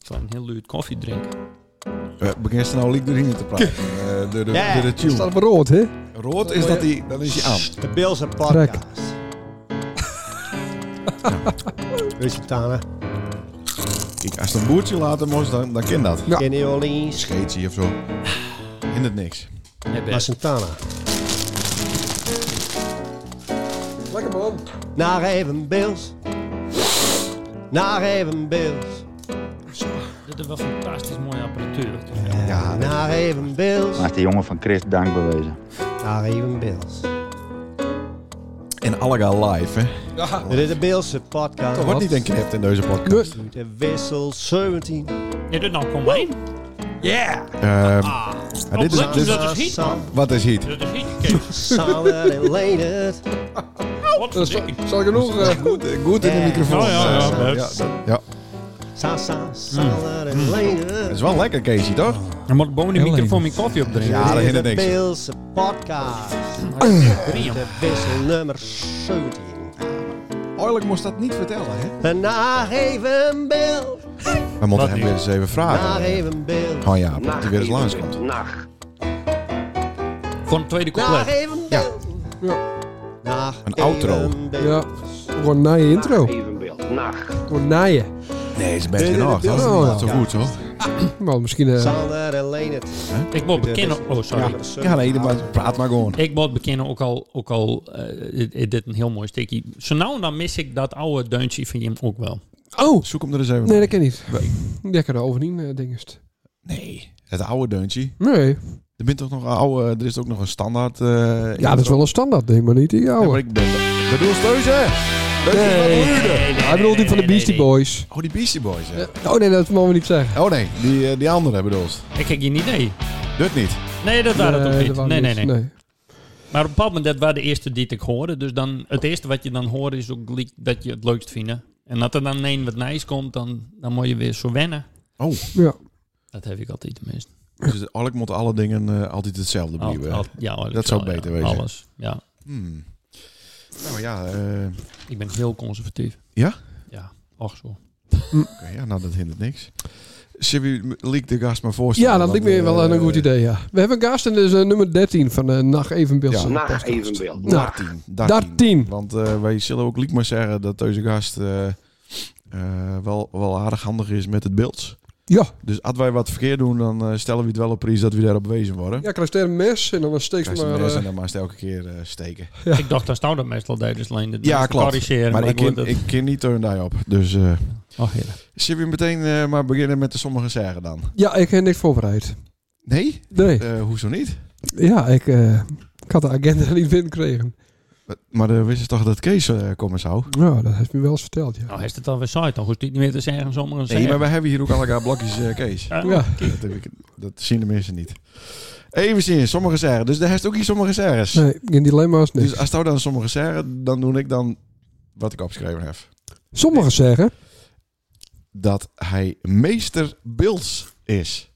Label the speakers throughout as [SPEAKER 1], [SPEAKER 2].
[SPEAKER 1] Ik zal een heel luid koffie drinken.
[SPEAKER 2] We beginnen nou liek erin te praten. Eh, door de,
[SPEAKER 3] Ja,
[SPEAKER 2] door de
[SPEAKER 3] ja.
[SPEAKER 2] tune.
[SPEAKER 4] Staat op rood, hè?
[SPEAKER 2] Rood is dat die, dan is je aan.
[SPEAKER 3] De Bilse podcast. Weet je Tana?
[SPEAKER 2] Kijk, als het een boertje laten moest, dan, dan ken dat.
[SPEAKER 4] Ja.
[SPEAKER 3] Kenny Orleans.
[SPEAKER 2] Scheetje of zo. In het niks.
[SPEAKER 1] Nee,
[SPEAKER 3] Maar
[SPEAKER 1] best.
[SPEAKER 3] Santana.
[SPEAKER 4] Lekker man.
[SPEAKER 3] Naar even Bills. Naar even Bills.
[SPEAKER 1] Dit is wel fantastisch mooie apparatuur.
[SPEAKER 3] Ja, naar even Bills.
[SPEAKER 5] Maar is de jongen van Chris dank bewezen.
[SPEAKER 3] Naar even Bills.
[SPEAKER 2] En Allega live, hè.
[SPEAKER 3] Dit is de Bilse
[SPEAKER 2] Dat
[SPEAKER 3] podcast.
[SPEAKER 2] wordt niet een knipt in deze podcast.
[SPEAKER 4] Dus,
[SPEAKER 3] De wissel 17.
[SPEAKER 1] Nee, dit nou kom heen.
[SPEAKER 2] Ehm, maar dit is,
[SPEAKER 1] leuk.
[SPEAKER 2] dit,
[SPEAKER 1] Dat is Giet,
[SPEAKER 3] Sam,
[SPEAKER 2] wat is heat?
[SPEAKER 1] Dit is niet Kees.
[SPEAKER 3] Sam en Leendert.
[SPEAKER 1] Wat
[SPEAKER 4] Nou, dat
[SPEAKER 1] voor
[SPEAKER 4] is
[SPEAKER 1] ding.
[SPEAKER 4] toch- zal ik genoeg. eh,
[SPEAKER 2] Goed, goed in de
[SPEAKER 3] Ja.
[SPEAKER 2] microfoon.
[SPEAKER 1] Oh, ja, ja,
[SPEAKER 2] Eh,
[SPEAKER 1] leuk.
[SPEAKER 2] dat, ja.
[SPEAKER 3] Sam, Sam, Sam en
[SPEAKER 2] Dat
[SPEAKER 3] Leendert.
[SPEAKER 2] is wel lekker, Casey, toch?
[SPEAKER 1] Dan moet ik boven de
[SPEAKER 4] Heel
[SPEAKER 1] microfoon
[SPEAKER 4] even.
[SPEAKER 1] mijn koffie opdrinken.
[SPEAKER 2] Ja, dat
[SPEAKER 3] Dit is
[SPEAKER 2] hindert
[SPEAKER 3] de
[SPEAKER 2] niks.
[SPEAKER 3] Bilse podcast.
[SPEAKER 1] Prima.
[SPEAKER 3] De wissel nummer 17.
[SPEAKER 2] Eigenlijk moest dat niet vertellen, hè?
[SPEAKER 3] En Naar even Bills.
[SPEAKER 2] We moeten hem weer eens even
[SPEAKER 3] Naar
[SPEAKER 2] vragen.
[SPEAKER 3] even Bills.
[SPEAKER 2] Gewoon ja, dat hij weer eens langskomt.
[SPEAKER 1] Voor een tweede
[SPEAKER 3] Naar
[SPEAKER 1] couplet.
[SPEAKER 3] even
[SPEAKER 2] Ja.
[SPEAKER 3] Bills.
[SPEAKER 4] Ja,
[SPEAKER 3] Naar
[SPEAKER 2] Een outro.
[SPEAKER 3] even Bills.
[SPEAKER 4] ja. Gewoon naaien intro. Gewoon naaien.
[SPEAKER 2] Nee, is best
[SPEAKER 3] Dit-
[SPEAKER 2] in
[SPEAKER 3] dit-
[SPEAKER 2] orde.
[SPEAKER 3] dit-
[SPEAKER 2] Dat is
[SPEAKER 4] dit-
[SPEAKER 2] niet zo
[SPEAKER 3] ja.
[SPEAKER 2] goed, hoor.
[SPEAKER 4] Maar misschien. eh
[SPEAKER 3] Sander en Leendert.
[SPEAKER 1] Ik moet bekennen... Oh, sorry.
[SPEAKER 2] Ja, nee, maar praat maar gewoon.
[SPEAKER 1] Ik moet bekennen, ook al, ook al eh, dit- dit een heel mooi stukje. Zo nou en dan mis ik dat oude deuntje van Jim ook wel.
[SPEAKER 4] Oh!
[SPEAKER 2] Zoek hem er eens even
[SPEAKER 4] Nee, dat
[SPEAKER 2] op.
[SPEAKER 4] kan niet. Die kan er overheen, eh, dingest.
[SPEAKER 2] Nee, het oude deuntje.
[SPEAKER 4] Nee.
[SPEAKER 2] Er, bent toch nog een oude, er is ook nog een standaard... eh,
[SPEAKER 4] Ja, dat is wel een standaard ding, maar niet die
[SPEAKER 2] Ja, maar
[SPEAKER 4] oude.
[SPEAKER 2] ik ben... Bedoel Steuze!
[SPEAKER 4] Nee. Hij bedoelt die van de Beastie Boys.
[SPEAKER 2] Oh, die Beastie Boys, hè?
[SPEAKER 4] Oh nee, dat mogen we niet zeggen.
[SPEAKER 2] Oh nee, die, eh, die andere bedoelt.
[SPEAKER 1] Ik heb geen idee.
[SPEAKER 2] Dat niet.
[SPEAKER 1] Nee, Nou, dat waren het ook
[SPEAKER 4] Eh, dat
[SPEAKER 1] niet.
[SPEAKER 4] waren
[SPEAKER 1] Nee, nee,
[SPEAKER 4] niet.
[SPEAKER 1] nee, Maar op een bepaald moment, dat waren de eerste die ik hoorde. Dus dan, het eerste wat je dan hoort is ook gelijk dat je het leukst vindt. En dat er dan een wat nice komt, dan, dan moet je weer zo wennen.
[SPEAKER 2] Oh,
[SPEAKER 4] Ja.
[SPEAKER 1] Dat heb ik altijd tenminste.
[SPEAKER 2] dus eigenlijk moeten alle dingen eh, altijd hetzelfde
[SPEAKER 1] Al-
[SPEAKER 2] blijven.
[SPEAKER 1] al- ja, hoor, ik
[SPEAKER 2] Dat zou
[SPEAKER 1] wel,
[SPEAKER 2] beter
[SPEAKER 1] ja,
[SPEAKER 2] wezen.
[SPEAKER 1] Alles, ja.
[SPEAKER 2] Hmm. Nou ja, eh,
[SPEAKER 1] Ik ben heel conservatief.
[SPEAKER 2] Ja?
[SPEAKER 1] Ja, och zo.
[SPEAKER 2] oké, ja, nou dat hindert niks. Zullen we Liek de gast maar voorstellen?
[SPEAKER 4] ja, dat
[SPEAKER 2] Want,
[SPEAKER 4] lijkt me wel
[SPEAKER 2] eh,
[SPEAKER 4] een goed idee, ja. We hebben een gast en dat is eh, nummer 13 van de Nacht Evenbeeld.
[SPEAKER 2] Ja.
[SPEAKER 4] Ja.
[SPEAKER 6] Nacht evenbeeld.
[SPEAKER 4] Nou,
[SPEAKER 2] 13.
[SPEAKER 4] 13.
[SPEAKER 2] Want eh, wij zullen ook Liek maar zeggen dat deze gast eh, eh, wel, wel aardig handig is met het beeld.
[SPEAKER 4] ja.
[SPEAKER 2] Dus als wij wat verkeerd doen, dan eh, stellen we het wel op prijs dat we daarop wezen worden.
[SPEAKER 4] Ja, krijg je een mes en dan steek
[SPEAKER 2] Krijg
[SPEAKER 4] je
[SPEAKER 2] je
[SPEAKER 4] maar...
[SPEAKER 2] een mes
[SPEAKER 4] eh,
[SPEAKER 2] en dan maar eens elke keer eh, steken.
[SPEAKER 1] Ik dacht, dat staan dat meestal tijdens alleen de
[SPEAKER 2] Ja, klopt.
[SPEAKER 1] corrigeren.
[SPEAKER 2] maar ik
[SPEAKER 1] word
[SPEAKER 2] ken,
[SPEAKER 1] het-
[SPEAKER 2] ik ken niet Turn Die op. Dus eh
[SPEAKER 1] Och, heerlijk.
[SPEAKER 2] zullen we meteen eh, maar beginnen met de sommige zeggen dan?
[SPEAKER 4] ja, ik heb niks voorbereid.
[SPEAKER 2] Nee?
[SPEAKER 4] Nee.
[SPEAKER 2] Eh, hoezo niet?
[SPEAKER 4] Ja, ik, eh, ik had de agenda niet binnengekregen.
[SPEAKER 2] Maar eh wist je toch dat Kees eh, komen zou?
[SPEAKER 4] Ja, dat heeft me wel eens verteld, ja.
[SPEAKER 1] Nou, hij is het alweer saai, dan hoeft hij het niet meer te zeggen. Sommigen
[SPEAKER 2] Nee, maar
[SPEAKER 1] zeggen.
[SPEAKER 2] we hebben hier ook allemaal blokjes eh, Kees.
[SPEAKER 1] Ja.
[SPEAKER 4] Ja.
[SPEAKER 2] Dat, heb ik- dat zien de mensen niet. Even zien, sommige zeggen. Dus daar heeft ook iets sommige zeggen.
[SPEAKER 4] Nee, geen dilemma's, niks.
[SPEAKER 1] eh,
[SPEAKER 2] Dus als jou dan sommige zeggen, dan doe ik dan wat ik opgeschreven heb.
[SPEAKER 4] Sommigen zeggen...
[SPEAKER 2] Dat hij meester Bills is.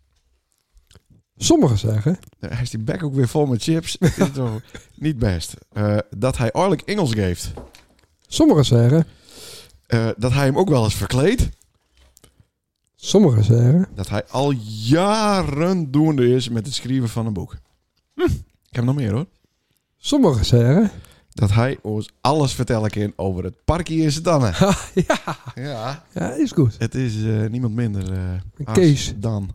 [SPEAKER 4] Sommigen zeggen...
[SPEAKER 2] Nou, Hij is die bek ook weer vol met chips. Dit is toch niet best. Eh, dat hij oorlijk Engels geeft.
[SPEAKER 4] Sommigen zeggen...
[SPEAKER 2] Eh, dat hij hem ook wel eens verkleedt.
[SPEAKER 4] Sommigen zeggen...
[SPEAKER 2] Dat hij al jaren doende is met het schrijven van een boek.
[SPEAKER 4] Hm.
[SPEAKER 2] Ik heb nog meer hoor.
[SPEAKER 4] Sommigen zeggen...
[SPEAKER 2] Dat hij ons alles vertellen kan over het parkje in Sedanne. ja. ja.
[SPEAKER 4] Ja, is goed.
[SPEAKER 2] Het is eh, niemand minder eh,
[SPEAKER 1] Ah,
[SPEAKER 2] als
[SPEAKER 4] Kees.
[SPEAKER 2] dan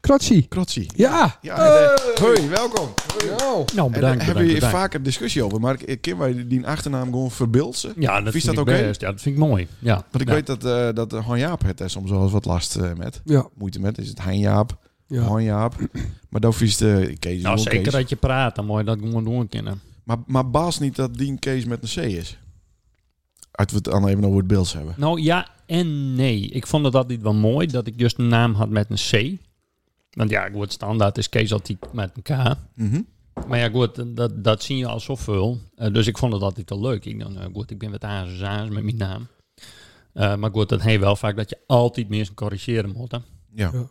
[SPEAKER 4] Kratzi.
[SPEAKER 2] Krotsi.
[SPEAKER 4] Ja!
[SPEAKER 2] Ja, en, eh, hoi, welkom.
[SPEAKER 4] Nou.
[SPEAKER 1] Nou,
[SPEAKER 2] en daar
[SPEAKER 1] bedankt,
[SPEAKER 2] hebben we
[SPEAKER 1] bedankt,
[SPEAKER 2] hier
[SPEAKER 1] bedankt.
[SPEAKER 2] vaak een discussie over. Maar ik- kunnen wij die achternaam gewoon verbilsen?
[SPEAKER 1] Ja, dat
[SPEAKER 2] Vies
[SPEAKER 1] vind,
[SPEAKER 2] dat
[SPEAKER 1] ik
[SPEAKER 2] oké?
[SPEAKER 1] best. Ja, dat vind ik mooi. Ja. Nou,
[SPEAKER 2] Want ik
[SPEAKER 1] Ja.
[SPEAKER 2] weet dat, eh dat eh, Han Jaap het er soms wel eens wat last eh, met.
[SPEAKER 4] Ja,
[SPEAKER 2] Moeite met is het Hein Jaap,
[SPEAKER 4] ja.
[SPEAKER 2] Han Jaap. Maar dat is de
[SPEAKER 1] Nou,
[SPEAKER 2] Kees. gewoon
[SPEAKER 1] zeker
[SPEAKER 2] Kees.
[SPEAKER 1] dat je praat, dan moet je dat gewoon doen kennen.
[SPEAKER 2] Maar, maar baas niet dat Dien Kees met een C is. Uit we het dan even over het beeld hebben.
[SPEAKER 1] Nou ja en nee. Ik vond het altijd wel mooi dat ik juist een naam had met een C. Want ja, goed, standaard is Kees altijd met een K.
[SPEAKER 2] Mhm.
[SPEAKER 1] Maar ja, goed, dat, dat zie je al zoveel. Eh, dus ik vond het altijd wel leuk. Ik dacht, nou goed, ik ben wat azes azes met mijn naam. Eh, maar goed, dat heet wel vaak dat je altijd mensen corrigeren moet. hè.
[SPEAKER 2] Ja.
[SPEAKER 4] Ja.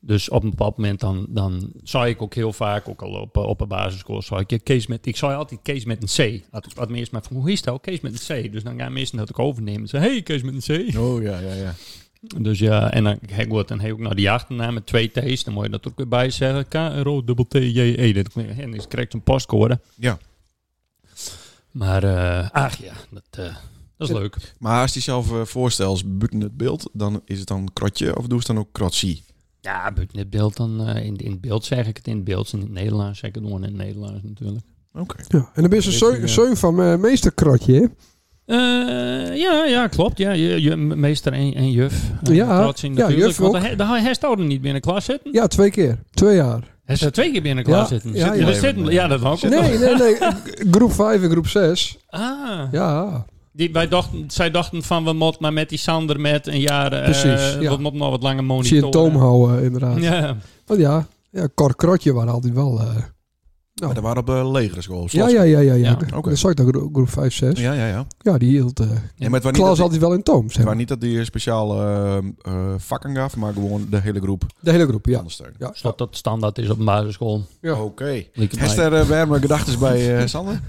[SPEAKER 1] Dus op een bepaald moment dan, dan zou ik ook heel vaak, ook al op, eh, op een basisschool, zou ik, je Kees met, ik zou altijd Kees met een C. Had, had me eerst nou, maar van, hoe is dat? Kees met een C. Dus dan gaan mensen dat ook overnemen. Ze hey, Kees met een C.
[SPEAKER 2] Oh ja, ja, ja.
[SPEAKER 1] Dus ja, en dan heb goed, dan heb je ook nog die achternaam met twee T's. Dan moet je dat ook weer bij zeggen. K-R-O, dubbel T-J-E. E. Dat klinkt- En is correct een postcode.
[SPEAKER 2] Ja.
[SPEAKER 1] Maar, eh, ach ja, dat, eh, dat is
[SPEAKER 4] Ja.
[SPEAKER 1] leuk.
[SPEAKER 2] Maar als die zelf eh, voorstelt als buiten het beeld, dan is het dan krotje of doe ze dan ook krotsie?
[SPEAKER 1] Ja, buiten het beeld dan. eh, in, in het beeld zeg ik het in het beeld. In het Nederlands zeg ik het gewoon in het Nederlands natuurlijk.
[SPEAKER 2] Oké.
[SPEAKER 4] Ja. En dan ben je
[SPEAKER 1] Weet je,
[SPEAKER 4] zo'n
[SPEAKER 1] ja.
[SPEAKER 4] zoon van eh, meester Krotje, hè?
[SPEAKER 1] Eh, ja, ja, klopt. Ja, je, je meester en, en juf. Eh,
[SPEAKER 4] Ja,
[SPEAKER 1] trots in
[SPEAKER 4] ja,
[SPEAKER 1] natuurlijk,
[SPEAKER 4] juf
[SPEAKER 1] want
[SPEAKER 4] ook.
[SPEAKER 1] hij- Daar hij staat er niet binnen de klas zitten.
[SPEAKER 4] Ja, twee keer. Twee jaar.
[SPEAKER 1] Hij staat twee keer binnen de
[SPEAKER 4] Ja,
[SPEAKER 1] klas zitten.
[SPEAKER 4] ja,
[SPEAKER 1] Zitten-
[SPEAKER 4] ja.
[SPEAKER 1] we zitten- ja, dat wou ik ook nog.
[SPEAKER 4] Nee, nee, nee. G- Groep 5 en groep 6.
[SPEAKER 1] Ah,
[SPEAKER 4] Ja.
[SPEAKER 1] die, wij dachten, zij dachten van we moeten maar met die Sander met een jaar... eh,
[SPEAKER 4] Precies, ja.
[SPEAKER 1] We moeten nog wat langer
[SPEAKER 4] Zie je
[SPEAKER 1] monitoren.
[SPEAKER 4] een toom houden, inderdaad.
[SPEAKER 1] Ja,
[SPEAKER 4] Want ja, ja Cor Krotje waren altijd wel... eh,
[SPEAKER 2] Maar dat waren op eh, legerschool. op
[SPEAKER 4] ja,
[SPEAKER 2] slot.
[SPEAKER 4] ja, ja, ja.
[SPEAKER 1] Ja,
[SPEAKER 4] ja.
[SPEAKER 2] oké.
[SPEAKER 4] Dat zag ik dan gro- groep 5, 6. Ja,
[SPEAKER 2] ja, ja, ja.
[SPEAKER 4] die hield...
[SPEAKER 2] En
[SPEAKER 4] eh
[SPEAKER 2] maar het was niet, dat
[SPEAKER 4] Klaas
[SPEAKER 2] die,
[SPEAKER 4] altijd wel in toom, zeg
[SPEAKER 2] het was
[SPEAKER 4] maar.
[SPEAKER 2] niet dat die eh, speciaal vakken eh, gaf, maar gewoon de hele groep
[SPEAKER 4] De hele groep, ja.
[SPEAKER 2] ondersteunen.
[SPEAKER 4] Ja,
[SPEAKER 1] Stop dat standaard is op een basisschool.
[SPEAKER 4] Ja.
[SPEAKER 2] Oké.
[SPEAKER 1] Lieke mij.
[SPEAKER 2] Hester, eh, warme gedachten bij eh, Sander?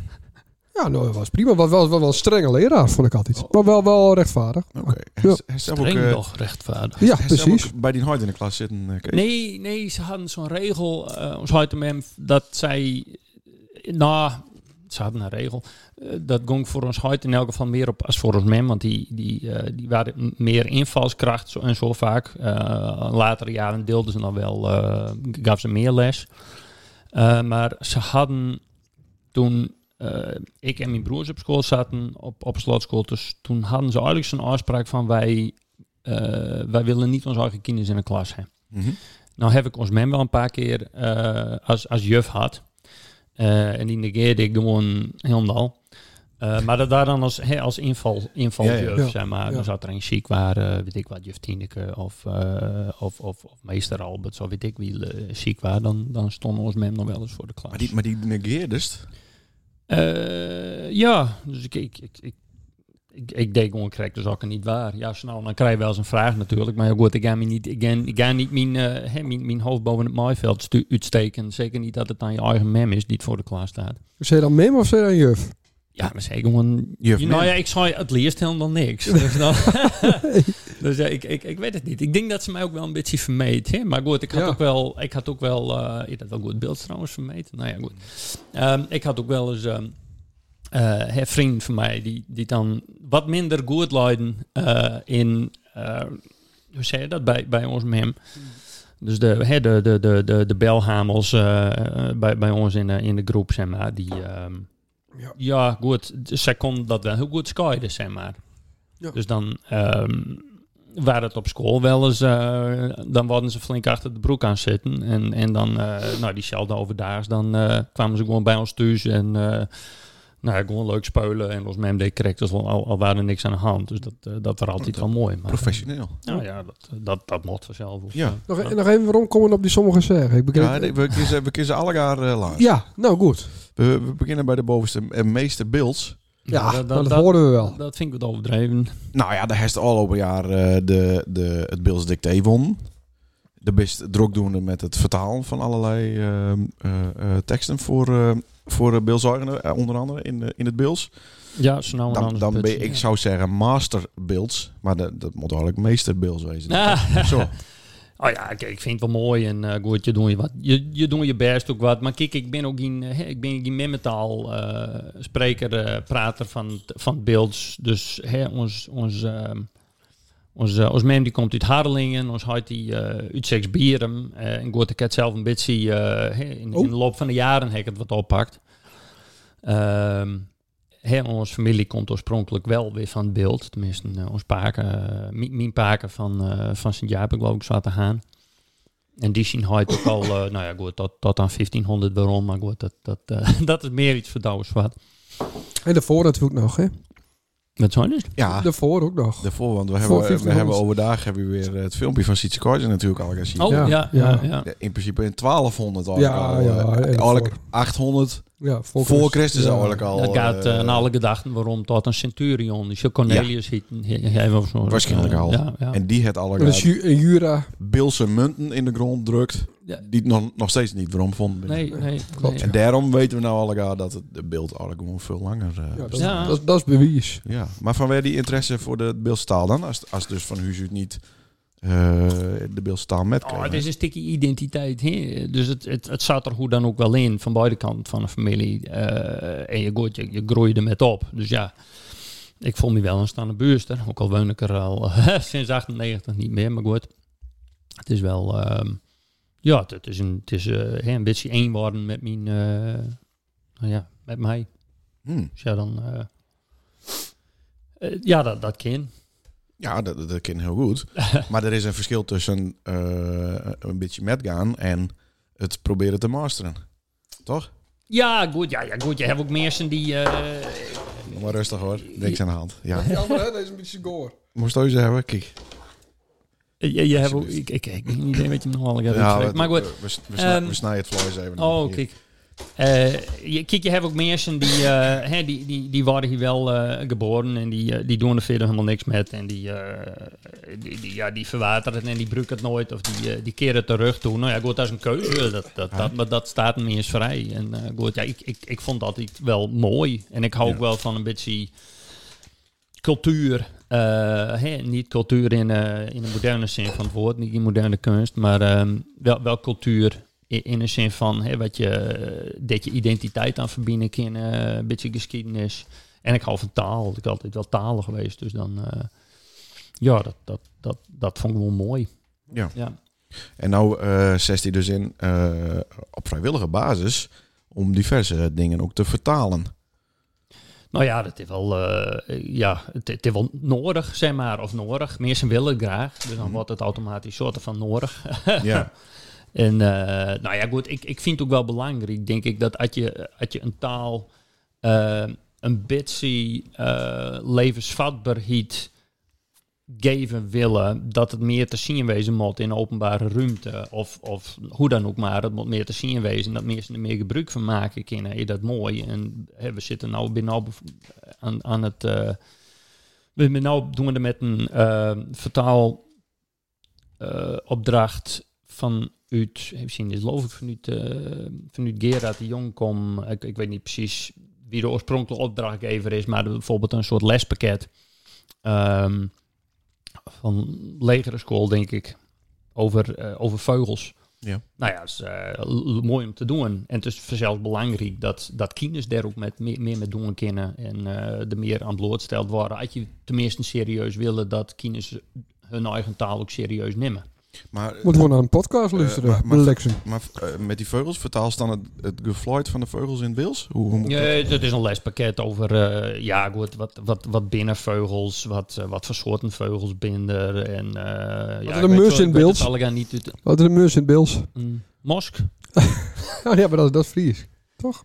[SPEAKER 4] ja nou, dat was prima. Was wel, wel, wel een strenge leraar, vond ik altijd. Maar wel, wel rechtvaardig.
[SPEAKER 2] Oh. Oké. Hester- Hester ook,
[SPEAKER 1] Streng
[SPEAKER 2] eh,
[SPEAKER 1] toch, rechtvaardig.
[SPEAKER 4] Ja,
[SPEAKER 2] Hester
[SPEAKER 4] precies.
[SPEAKER 2] ook bij die nooit in de klas zitten. eh, Kees?
[SPEAKER 1] Nee, nee, ze hadden zo'n regel, eh ons uit hem, dat zij, nou, ze hadden een regel, eh, dat ging voor ons huid in elk geval meer op als voor ons mem, want die, die, eh, die waren m- meer invalskracht zo, en zo vaak. Eh latere jaren deelden ze dan wel, eh gaf ze meer les. Eh, maar ze hadden toen eh, ik en mijn broers op school zaten, op, op slotschool, dus toen hadden ze eigenlijk zo'n afspraak van wij, eh, wij willen niet onze eigen kinderen in de klas hebben.
[SPEAKER 2] Mhm.
[SPEAKER 1] Nou heb ik ons mem wel een paar keer eh, als, als juf had. Eh, en die negeerde ik gewoon helemaal. Eh maar dat daar dan als, hè, als inval, invaljuf,
[SPEAKER 2] Ja,
[SPEAKER 4] ja. Ja,
[SPEAKER 1] zeg maar.
[SPEAKER 4] ja.
[SPEAKER 1] Dan zat er een chic waar, eh, weet ik wat, juf Tineke of, eh, of, of, of meester Albert, zo weet ik wie eh, chic waar. Dan, dan stond ons mem nog wel eens voor de klas.
[SPEAKER 2] Maar die, maar die negeerdest?
[SPEAKER 1] Ah, Eh, ja, dus ik, ik, ik, ik, ik, ik deed gewoon correct de zakken niet waar. Ja, zo nou, dan krijg je wel eens een vraag natuurlijk. Maar ja, goed, ik ga me niet, ik ga, ik ga niet mijn, eh, hè, mijn, mijn hoofd boven het maaiveld stu- uitsteken. Zeker niet dat het aan je eigen mem is die het voor de klas staat.
[SPEAKER 4] Zei je dan mem of zei je dan juf?
[SPEAKER 1] Ja, maar zeker gewoon...
[SPEAKER 2] Juf
[SPEAKER 1] nou
[SPEAKER 2] mem.
[SPEAKER 1] ja, ik zei het liefst helemaal niks. Dus, dan, dus ja, ik, ik, ik weet het niet. Ik denk dat ze mij ook wel een beetje vermeed. Hè? Maar goed, ik had
[SPEAKER 4] Ja.
[SPEAKER 1] ook wel... Ik had ook wel... eh ik had wel goed beeld trouwens vermeed. Nou ja, goed. Ehm, ik had ook wel eens ehm, eh, een vriend van mij die, die dan wat minder goed leiden eh, in, eh, hoe zei je dat, bij, bij ons met hem. Dus de, hè, de, de, de, de, de belhamels eh, eh, bij, bij ons in de, in de groep, zeg maar, die... ehm,
[SPEAKER 4] Ja.
[SPEAKER 1] ja. goed. Dus zij kon dat wel heel goed skyden, zeg maar.
[SPEAKER 4] Ja.
[SPEAKER 1] Dus dan ehm waren het op school wel eens... eh, dan worden ze flink achter de broek aan zitten. En, en dan, eh nou, diezelfde overdaags, dan eh, kwamen ze gewoon bij ons thuis. En eh, nou, ja, gewoon leuk spelen. En ons mem deed correct, dus al, al waren er niks aan de hand. Dus dat, eh, dat was altijd wel mooi. Maar,
[SPEAKER 2] Professioneel.
[SPEAKER 1] nou ja, dat, dat, dat mocht vanzelf. Of,
[SPEAKER 2] Ja.
[SPEAKER 4] Nog, e- nog even rondkomen op die sommige zeggen. Ik begreep,
[SPEAKER 2] Ja, nee, we kiezen, we kiezen alle jaar eh, laatst.
[SPEAKER 4] ja, nou goed.
[SPEAKER 2] We, we beginnen bij de bovenste en meeste beelds.
[SPEAKER 4] Ja,
[SPEAKER 1] Nou,
[SPEAKER 4] dat, hoorden we wel.
[SPEAKER 1] Dat vind ik wat overdreven.
[SPEAKER 2] Nou ja, de herst al over jaar eh, de, de, het Beels dicté won. De best drukdoende met het vertalen van allerlei eh, eh, eh, teksten voor, eh voor eh, Beelzuigenden, eh, onder andere in, eh, in het Beels.
[SPEAKER 1] Ja, zo nou en
[SPEAKER 2] Dan,
[SPEAKER 1] anders
[SPEAKER 2] dan ben
[SPEAKER 1] putsen,
[SPEAKER 2] ik
[SPEAKER 1] ja.
[SPEAKER 2] zou zeggen master Beelds, maar dat, dat moet eigenlijk meester Beelds wezen.
[SPEAKER 1] Ah.
[SPEAKER 2] Zo.
[SPEAKER 1] Oh ja, kijk, ik vind het wel mooi en eh goed, je doet je wat. Je, je doet je best ook wat. Maar kijk, ik ben ook geen, eh, hè, ik ben geen memetaal eh, spreker, eh, prater van, het- van het beeld. Dus hè, ons, ons, ehm, ons, eh, ons mem die komt uit Harlingen, ons huid die eh uit Seksbieren. eh en goed, ik heb zelf een beetje eh, hè, in,
[SPEAKER 4] Oh.
[SPEAKER 1] in de loop van de jaren heb ik het wat oppakt. Ehm hè, onze familie komt oorspronkelijk wel weer van het beeld. Tenminste, eh, ons paken, eh, mi- mijn paken van, eh, van Sint-Jaap, ik geloof ik, zaten gaan. En die zien hij ook al, eh, nou ja, goed, tot, tot aan 1500 waarom, maar goed, dat, dat, eh, dat is meer iets voor Douwers wat.
[SPEAKER 4] En daarvoor natuurlijk nog, hè?
[SPEAKER 1] Wat zijn dus?
[SPEAKER 2] Ja,
[SPEAKER 4] Daarvoor ook nog.
[SPEAKER 2] daarvoor, want we
[SPEAKER 4] Voor
[SPEAKER 2] hebben, we
[SPEAKER 4] 1500.
[SPEAKER 2] hebben overdag hebben we weer eh, het filmpje van Sietse Korsen natuurlijk al gezien.
[SPEAKER 1] Oh, ja, ja,
[SPEAKER 4] ja.
[SPEAKER 1] ja.
[SPEAKER 2] Ja, In principe in 1200 al.
[SPEAKER 4] Ja,
[SPEAKER 2] al,
[SPEAKER 4] ja,
[SPEAKER 2] eh,
[SPEAKER 4] en
[SPEAKER 2] eigenlijk
[SPEAKER 4] voor.
[SPEAKER 2] 800
[SPEAKER 4] Ja,
[SPEAKER 2] voor Christus,
[SPEAKER 4] Ja.
[SPEAKER 2] eigenlijk al.
[SPEAKER 1] Dat gaat eh,
[SPEAKER 2] eh,
[SPEAKER 1] naar alle gedachten waarom tot een centurion, die Cornelius ja. of zo.
[SPEAKER 2] Waarschijnlijk
[SPEAKER 1] Eh,
[SPEAKER 2] al.
[SPEAKER 1] Ja, ja.
[SPEAKER 2] En die het alle
[SPEAKER 4] En de
[SPEAKER 2] gaat
[SPEAKER 4] Dus ju- en Jura.
[SPEAKER 2] Bilse munten in de grond drukt.
[SPEAKER 1] Ja.
[SPEAKER 2] Die het nog, nog steeds niet waarom vonden.
[SPEAKER 1] nee, nee,
[SPEAKER 4] Klopt.
[SPEAKER 1] nee.
[SPEAKER 2] En daarom weten we nou allegaar dat het de beeld eigenlijk gewoon veel langer... eh,
[SPEAKER 4] Ja, dat,
[SPEAKER 1] Ja.
[SPEAKER 4] Dat, dat is bewijs.
[SPEAKER 2] ja, maar vanwege die interesse voor de beeldstaal dan? Als, als dus van Huus niet eh, de Beelse taal met
[SPEAKER 1] Oh, het
[SPEAKER 2] kregen.
[SPEAKER 1] is een stukje identiteit. hè. Dus het, het, het zat er hoe dan ook wel in, van beide kanten van een familie. Eh, en je, gooit, je, je groeit er met op. Dus ja, ik voel me wel een staande buurster. Ook al woon ik er al sinds 98 niet meer, maar goed. Het is wel, ehm, ja, het, het is, een, het is eh, hè, een beetje één worden met mijn, eh, nou ja, met mij.
[SPEAKER 2] Hmm.
[SPEAKER 1] Dus ja, dan, eh, eh, ja, dat, dat kan.
[SPEAKER 2] Ja, dat, dat- dat kan heel goed. maar er is een verschil tussen eh, een beetje metgaan en het proberen te masteren. Toch?
[SPEAKER 1] Ja, goed, ja, ja, goed. Je hebt ook mensen die, eh,
[SPEAKER 2] Doe maar rustig hoor. Niks aan de hand. Ja.
[SPEAKER 4] Ja, maar hè, dat is een beetje goor.
[SPEAKER 2] Moest je ze hebben? Kijk.
[SPEAKER 1] Eh, Je, je hebt ook,
[SPEAKER 2] Alsjeblieft.
[SPEAKER 1] ik, ik, ik heb geen idee wat je nog allemaal gaat
[SPEAKER 2] we,
[SPEAKER 1] uitvreten. Maar goed.
[SPEAKER 2] we, we, snij-
[SPEAKER 1] Ehm,
[SPEAKER 2] we snijden het vlees even.
[SPEAKER 1] Oh,
[SPEAKER 2] Hier.
[SPEAKER 1] kijk. Eh, je, kijk, je hebt ook mensen die, eh, hè, die, die, die worden hier wel eh, geboren en die, eh, die doen er verder helemaal niks met. En die, eh, die, die, ja, die verwateren het en die bruiken het nooit of die, eh, die keren het terug toe. Nou ja, goed, dat is een keuze. Dat, dat, dat, maar dat staat me eens vrij. En eh, goed, ja, ik, ik, ik vond dat iets wel mooi. En ik hou ook wel van een beetje cultuur. eh, hè, niet cultuur in, eh, in de moderne zin van het woord, niet in moderne kunst, maar ehm, wel, wel cultuur in, in de zin van hè, wat je, eh, dat je identiteit aan verbinden kan, eh, een beetje geschiedenis. En ik hou van taal, ik ben altijd wel talen geweest, dus dan, eh, ja, dat, dat, dat, dat vond ik wel mooi.
[SPEAKER 2] Ja.
[SPEAKER 1] ja.
[SPEAKER 2] En nou eh zet hij dus in eh, op vrijwillige basis om diverse eh, dingen ook te vertalen.
[SPEAKER 1] Nou ja, dat is wel, eh, ja, het, het is wel nodig, zeg maar, of nodig. Mensen willen het graag, dus dan wordt het automatisch soorten van nodig.
[SPEAKER 2] ja.
[SPEAKER 1] En eh, nou ja, goed, ik, ik vind het ook wel belangrijk, denk ik, dat als je, als je een taal eh, een beetje eh, levensvatbaarheid geven willen, dat het meer te zien wezen moet in openbare ruimte. Of, of hoe dan ook maar, het moet meer te zien wezen, dat mensen er meer gebruik van maken kunnen. Is dat mooi? En hè, we zitten nou binnen al bev- aan, aan het... eh, we zijn nou doen we er met een eh, vertaal eh, opdracht vanuit, eh, even zien, dit geloof ik vanuit, eh vanuit Gerard de Jong kom. Ik, ik weet niet precies wie de oorspronkelijke opdrachtgever is, maar bijvoorbeeld een soort lespakket ehm, van legere school, denk ik, over, eh, over vogels.
[SPEAKER 2] Ja.
[SPEAKER 1] Nou ja, dat is eh, l- mooi om te doen. En het is zelfs belangrijk dat, dat kinders daar ook met, meer, meer mee doen kunnen en eh, er meer aan blootsteld worden. Als je tenminste serieus willen dat kinders hun eigen taal ook serieus nemen.
[SPEAKER 2] Maar,
[SPEAKER 4] Moet gewoon naar een podcast
[SPEAKER 2] Eh,
[SPEAKER 4] luisteren,
[SPEAKER 2] maar- maar-
[SPEAKER 4] Lexen.
[SPEAKER 2] maar eh, met die vogels vertaalt dan het, het gefluit van de vogels in het Wils? Hoe, hoe moet dat?
[SPEAKER 1] Ja, dat is een lespakket over eh, ja, goed, wat, wat, wat binnenvogels, wat, eh, wat voor soorten vogels binder en eh ja,
[SPEAKER 4] een
[SPEAKER 1] ik weet
[SPEAKER 4] mus
[SPEAKER 1] zo,
[SPEAKER 4] in
[SPEAKER 1] ik weet
[SPEAKER 4] beeld.
[SPEAKER 1] het allemaal niet. uit-
[SPEAKER 4] Wat is de mus in Bils?
[SPEAKER 1] Een mosk?
[SPEAKER 4] Ja, Oh, ja, maar dat, dat is Fries. Toch?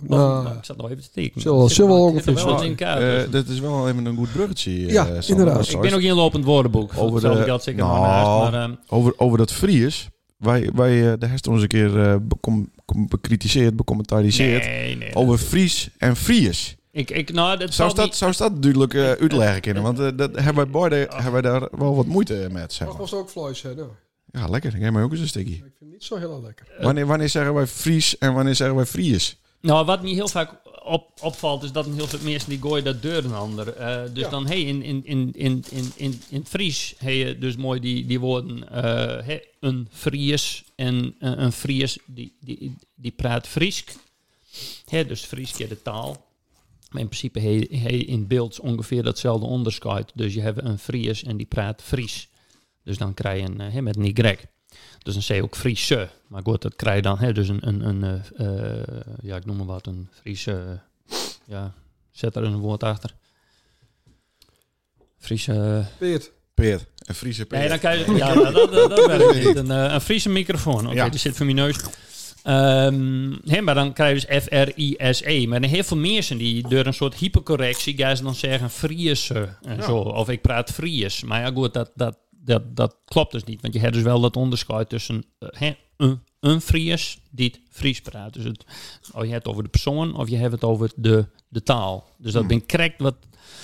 [SPEAKER 4] Nou,
[SPEAKER 1] Nou, ik zat nog even te tekenen.
[SPEAKER 4] zullen we-
[SPEAKER 1] Zit er
[SPEAKER 4] zullen we
[SPEAKER 1] wel-
[SPEAKER 4] ook
[SPEAKER 1] zit er
[SPEAKER 4] even-
[SPEAKER 1] wel wat in elkaar
[SPEAKER 2] Eh,
[SPEAKER 1] tussen.
[SPEAKER 2] dat is wel even een goed bruggetje. eh,
[SPEAKER 4] Ja,
[SPEAKER 2] Sander.
[SPEAKER 4] inderdaad.
[SPEAKER 2] Dat is
[SPEAKER 1] ik ben ook in een lopend woordenboek.
[SPEAKER 2] Over
[SPEAKER 1] Over de,
[SPEAKER 2] de-
[SPEAKER 1] dat zeker
[SPEAKER 2] Nou.
[SPEAKER 1] maar naast, maar ehm,
[SPEAKER 2] Over, over dat Fries. Wij, wij eh de herst ons een keer eh, becom- com- bekritiseerd, becommentariseerd.
[SPEAKER 1] nee, nee.
[SPEAKER 2] Over Fries en Fries.
[SPEAKER 1] Ik, ik, nou, dat
[SPEAKER 2] Zou
[SPEAKER 1] zal
[SPEAKER 2] dat,
[SPEAKER 1] niet-
[SPEAKER 2] zou dat duidelijk eh, uitleggen kunnen? Want eh, dat hebben, wij beide, hebben wij daar wel wat moeite met. Zeg maar.
[SPEAKER 4] was ook vlees, hè? Nou,
[SPEAKER 2] Ja, lekker. Ik heb mij ook eens een stukje.
[SPEAKER 4] ik vind niet zo heel lekker.
[SPEAKER 2] Wanneer, wanneer zeggen wij Fries en wanneer zeggen wij Fries?
[SPEAKER 1] Nou, wat me heel vaak op, opvalt, is dat een heel veel mensen die gooien dat deur een ander. Eh, dus
[SPEAKER 4] Ja.
[SPEAKER 1] dan, hey, in, in, in, in, in, in, in het Fries heb je dus mooi die, die woorden eh, hè, een Fries en eh, een Fries die, die, die praat Friesk. Hè, dus Fries keer de taal. Maar in principe heb je- heb je in beeld ongeveer datzelfde onderscheid. Dus je hebt een Fries en die praat Fries. Dus dan krijg je een, eh, hè, met een Y. Dus dan zei je ook Friese. Maar goed, dat krijg je dan. Hè, dus een, een, een eh, eh, ja, ik noem maar wat, een Friese. eh, ja, zet er een woord achter. Friese.
[SPEAKER 4] Peert.
[SPEAKER 2] Peer. En Friese peer.
[SPEAKER 1] Nee, dan krijg je. Ja, dat, dat, dat werkt niet. Een, eh, een Friese microfoon. Oké,
[SPEAKER 2] Ja.
[SPEAKER 1] die zit voor mijn neus. Ehm, hè, maar dan krijg je dus F-R-I-S-E. Maar er zijn heel veel mensen die door een soort hypercorrectie gaan ze dan zeggen Friese en zo. Of ik praat Fries. Maar ja, goed, dat, dat, dat, dat klopt dus niet. Want je hebt dus wel dat onderscheid tussen eh, hè, een, een Fries die het Fries praat. Dus het, oh, je hebt het over de persoon of je hebt het over de, de taal. Dus dat ben correct wat...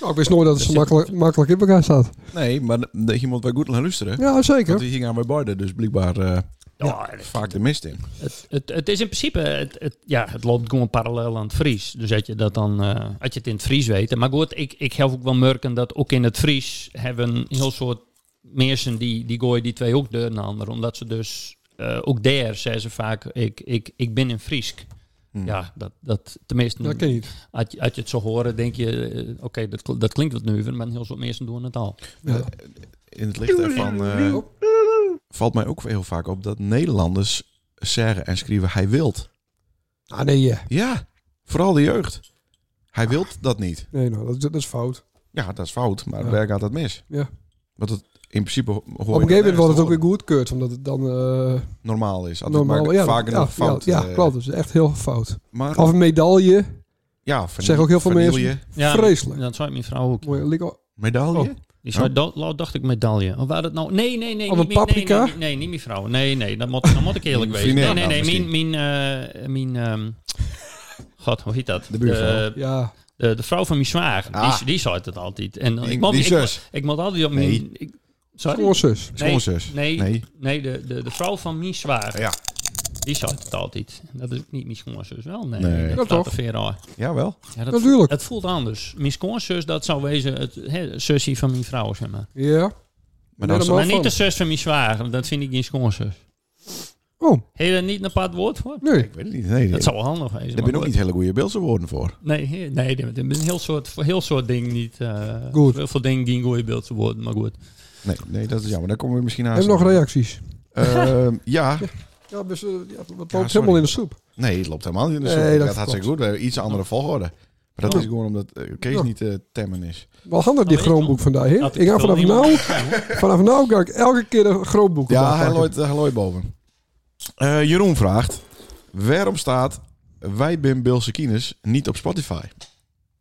[SPEAKER 4] Nou, ik wist nooit dat het zo
[SPEAKER 1] Dat zit-
[SPEAKER 4] makkelijk, makkelijk in elkaar staat.
[SPEAKER 2] Nee, maar dat je moet wel goed naar luisteren.
[SPEAKER 4] Ja,
[SPEAKER 2] Want
[SPEAKER 4] zeker.
[SPEAKER 2] die gingen aan mijn borden, dus blijkbaar eh,
[SPEAKER 1] Ja,
[SPEAKER 2] vaak de mist in.
[SPEAKER 1] Het, het, het is in principe, het, het- ja, het loopt gewoon parallel aan het Fries. Dus had je dat dan, eh had je het in het Fries weten. Maar goed, ik, ik help ook wel merken dat ook in het Fries hebben een heel soort mensen die, die gooien die twee ook deur naar ander. Omdat ze dus eh, ook daar zeggen ze vaak, ik, ik, ik ben in Friesk.
[SPEAKER 2] Hm.
[SPEAKER 1] Ja, dat, dat tenminste,
[SPEAKER 4] Dat ken je niet.
[SPEAKER 1] als, je, als je het zo horen, denk je, eh, oké, dat, kl- dat klinkt wat nuver, maar heel veel mensen doen het al.
[SPEAKER 4] Ja.
[SPEAKER 2] In het licht daarvan eh, valt mij ook heel vaak op dat Nederlanders zeggen en schrijven hij wilt.
[SPEAKER 4] Ah nee, ja.
[SPEAKER 2] Ja, vooral de jeugd. Hij wilt dat niet.
[SPEAKER 4] Nee, nou, dat, dat is fout.
[SPEAKER 2] Ja, dat is fout, maar
[SPEAKER 4] Ja.
[SPEAKER 2] daar gaat dat mis.
[SPEAKER 4] Ja.
[SPEAKER 2] Want het in principe ho- hoor je
[SPEAKER 4] Op een gegeven moment
[SPEAKER 2] dat
[SPEAKER 4] wordt het ook weer
[SPEAKER 2] ergens
[SPEAKER 4] goedkeurd, omdat het dan eh
[SPEAKER 2] te horen. normaal is. Altijd
[SPEAKER 4] normaal...
[SPEAKER 2] maar
[SPEAKER 4] Ja,
[SPEAKER 2] vaak
[SPEAKER 4] ja,
[SPEAKER 2] genoeg fout.
[SPEAKER 4] Ja,
[SPEAKER 2] eh,
[SPEAKER 4] ja klopt. Dus echt heel fout.
[SPEAKER 2] Maar
[SPEAKER 4] Of een medaille.
[SPEAKER 2] ja, vernie-
[SPEAKER 4] Zeg ook heel veel
[SPEAKER 2] verniel
[SPEAKER 4] mensen.
[SPEAKER 2] je.
[SPEAKER 1] Ja,
[SPEAKER 4] Vreselijk.
[SPEAKER 1] Dat zei mijn vrouw ook.
[SPEAKER 4] Mooi, lik- Of
[SPEAKER 2] Medaille?
[SPEAKER 4] Oh.
[SPEAKER 1] Die zei,
[SPEAKER 2] Oh.
[SPEAKER 1] dat, nou, dacht ik medaille. Of waar dat nou? Nee, nee, nee. niet
[SPEAKER 4] Of een
[SPEAKER 1] mijn- nee,
[SPEAKER 4] paprika?
[SPEAKER 1] Nee, nee, nee, niet mijn vrouw. Nee, nee, dat moet, dat moet ik eerlijk
[SPEAKER 2] Mijn
[SPEAKER 1] weten. Nee, nee,
[SPEAKER 2] vriendin
[SPEAKER 1] nee.
[SPEAKER 2] dan
[SPEAKER 1] Mijn, mijn, eh, mijn ehm, god, hoe heet dat?
[SPEAKER 2] De
[SPEAKER 1] De,
[SPEAKER 2] buurvrouw.
[SPEAKER 4] Ja.
[SPEAKER 1] de, de vrouw van mijn zwager.
[SPEAKER 2] Ah.
[SPEAKER 1] Die, die zei het altijd. En
[SPEAKER 2] Die-
[SPEAKER 1] ik, moet,
[SPEAKER 2] die
[SPEAKER 1] ik,
[SPEAKER 2] zus.
[SPEAKER 1] Ik, moet altijd op
[SPEAKER 2] Nee.
[SPEAKER 1] mijn... Ik, sorry?
[SPEAKER 4] Schoonzus.
[SPEAKER 2] Schoonzus.
[SPEAKER 1] Nee, nee,
[SPEAKER 2] Nee.
[SPEAKER 1] nee de, de, de vrouw van mijn zwager.
[SPEAKER 2] Ja.
[SPEAKER 1] Die zei het altijd. Dat is ook niet mijn schoonzus wel. Nee,
[SPEAKER 2] Nee.
[SPEAKER 1] dat
[SPEAKER 4] Ja,
[SPEAKER 1] staat
[SPEAKER 4] toch?
[SPEAKER 1] er ver aan.
[SPEAKER 2] Jawel.
[SPEAKER 1] Ja, dat,
[SPEAKER 4] Natuurlijk.
[SPEAKER 1] het voelt anders. Mijn schoonzus, dat zou wezen het hè, zusje van mijn vrouw, zeg maar.
[SPEAKER 4] Ja.
[SPEAKER 2] Maar dan
[SPEAKER 4] Nee,
[SPEAKER 2] zo-
[SPEAKER 4] dat
[SPEAKER 1] Maar niet
[SPEAKER 4] van.
[SPEAKER 1] de zus van mijn zwager, want dat vind ik geen schoonzus.
[SPEAKER 4] Oh,
[SPEAKER 1] Heb je daar niet een apart woord voor?
[SPEAKER 4] nee.
[SPEAKER 2] Ik weet het niet. Nee,
[SPEAKER 1] Dat zou wel handig zijn.
[SPEAKER 2] daar ben ook niet hele goede beeldse woorden voor.
[SPEAKER 1] Nee, he- nee, er zijn heel soort, voor heel soort dingen niet. eh
[SPEAKER 4] Goed.
[SPEAKER 1] Heel veel dingen die een goede beeld worden, maar goed.
[SPEAKER 2] Nee, nee, dat is jammer. Daar komen we misschien aan.
[SPEAKER 4] Hebben we nog reacties?
[SPEAKER 2] Ehm, ja,
[SPEAKER 4] Ja, dus, eh, ja, dat loopt
[SPEAKER 2] sorry.
[SPEAKER 4] helemaal in de soep.
[SPEAKER 2] nee, het loopt helemaal niet in de
[SPEAKER 4] Nee,
[SPEAKER 2] soep.
[SPEAKER 4] dat
[SPEAKER 2] dat gaat
[SPEAKER 4] klopt.
[SPEAKER 2] hartstikke goed. We hebben iets andere volgorde. Maar dat
[SPEAKER 1] Ja.
[SPEAKER 2] is gewoon omdat eh, Kees
[SPEAKER 4] Ja.
[SPEAKER 2] niet te temmen is.
[SPEAKER 4] Wel handig die
[SPEAKER 1] Nou, ik
[SPEAKER 4] groenboek vandaag, hè?
[SPEAKER 1] Had
[SPEAKER 4] Ik ga
[SPEAKER 1] veel
[SPEAKER 4] vanaf
[SPEAKER 1] niemand-
[SPEAKER 4] nou, vanaf nou ga ik elke keer een groenboek
[SPEAKER 2] Ja,
[SPEAKER 4] erbij
[SPEAKER 2] hij
[SPEAKER 4] pakken.
[SPEAKER 2] looit, hij looit boven. Eh, Jeroen vraagt, waarom staat Wij Bim Bilse Kines niet op Spotify?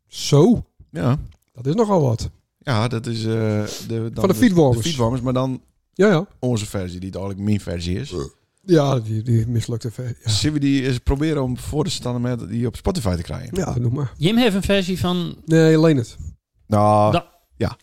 [SPEAKER 4] Zo,
[SPEAKER 2] Ja,
[SPEAKER 4] dat is nogal wat.
[SPEAKER 2] ja dat is eh, de, dan
[SPEAKER 4] Van de fietswarmers.
[SPEAKER 2] fietswarmers, maar dan
[SPEAKER 4] Ja, ja.
[SPEAKER 2] onze versie, die het eigenlijk mijn versie is.
[SPEAKER 4] Ja, die, die mislukte ver. Ja.
[SPEAKER 2] Zullen we die eens proberen om voor te staan met die op Spotify te krijgen?
[SPEAKER 4] ja, noem maar.
[SPEAKER 1] Jim heeft een versie van,
[SPEAKER 4] Nee, alleen het. Ah.
[SPEAKER 2] Nou,
[SPEAKER 1] Da-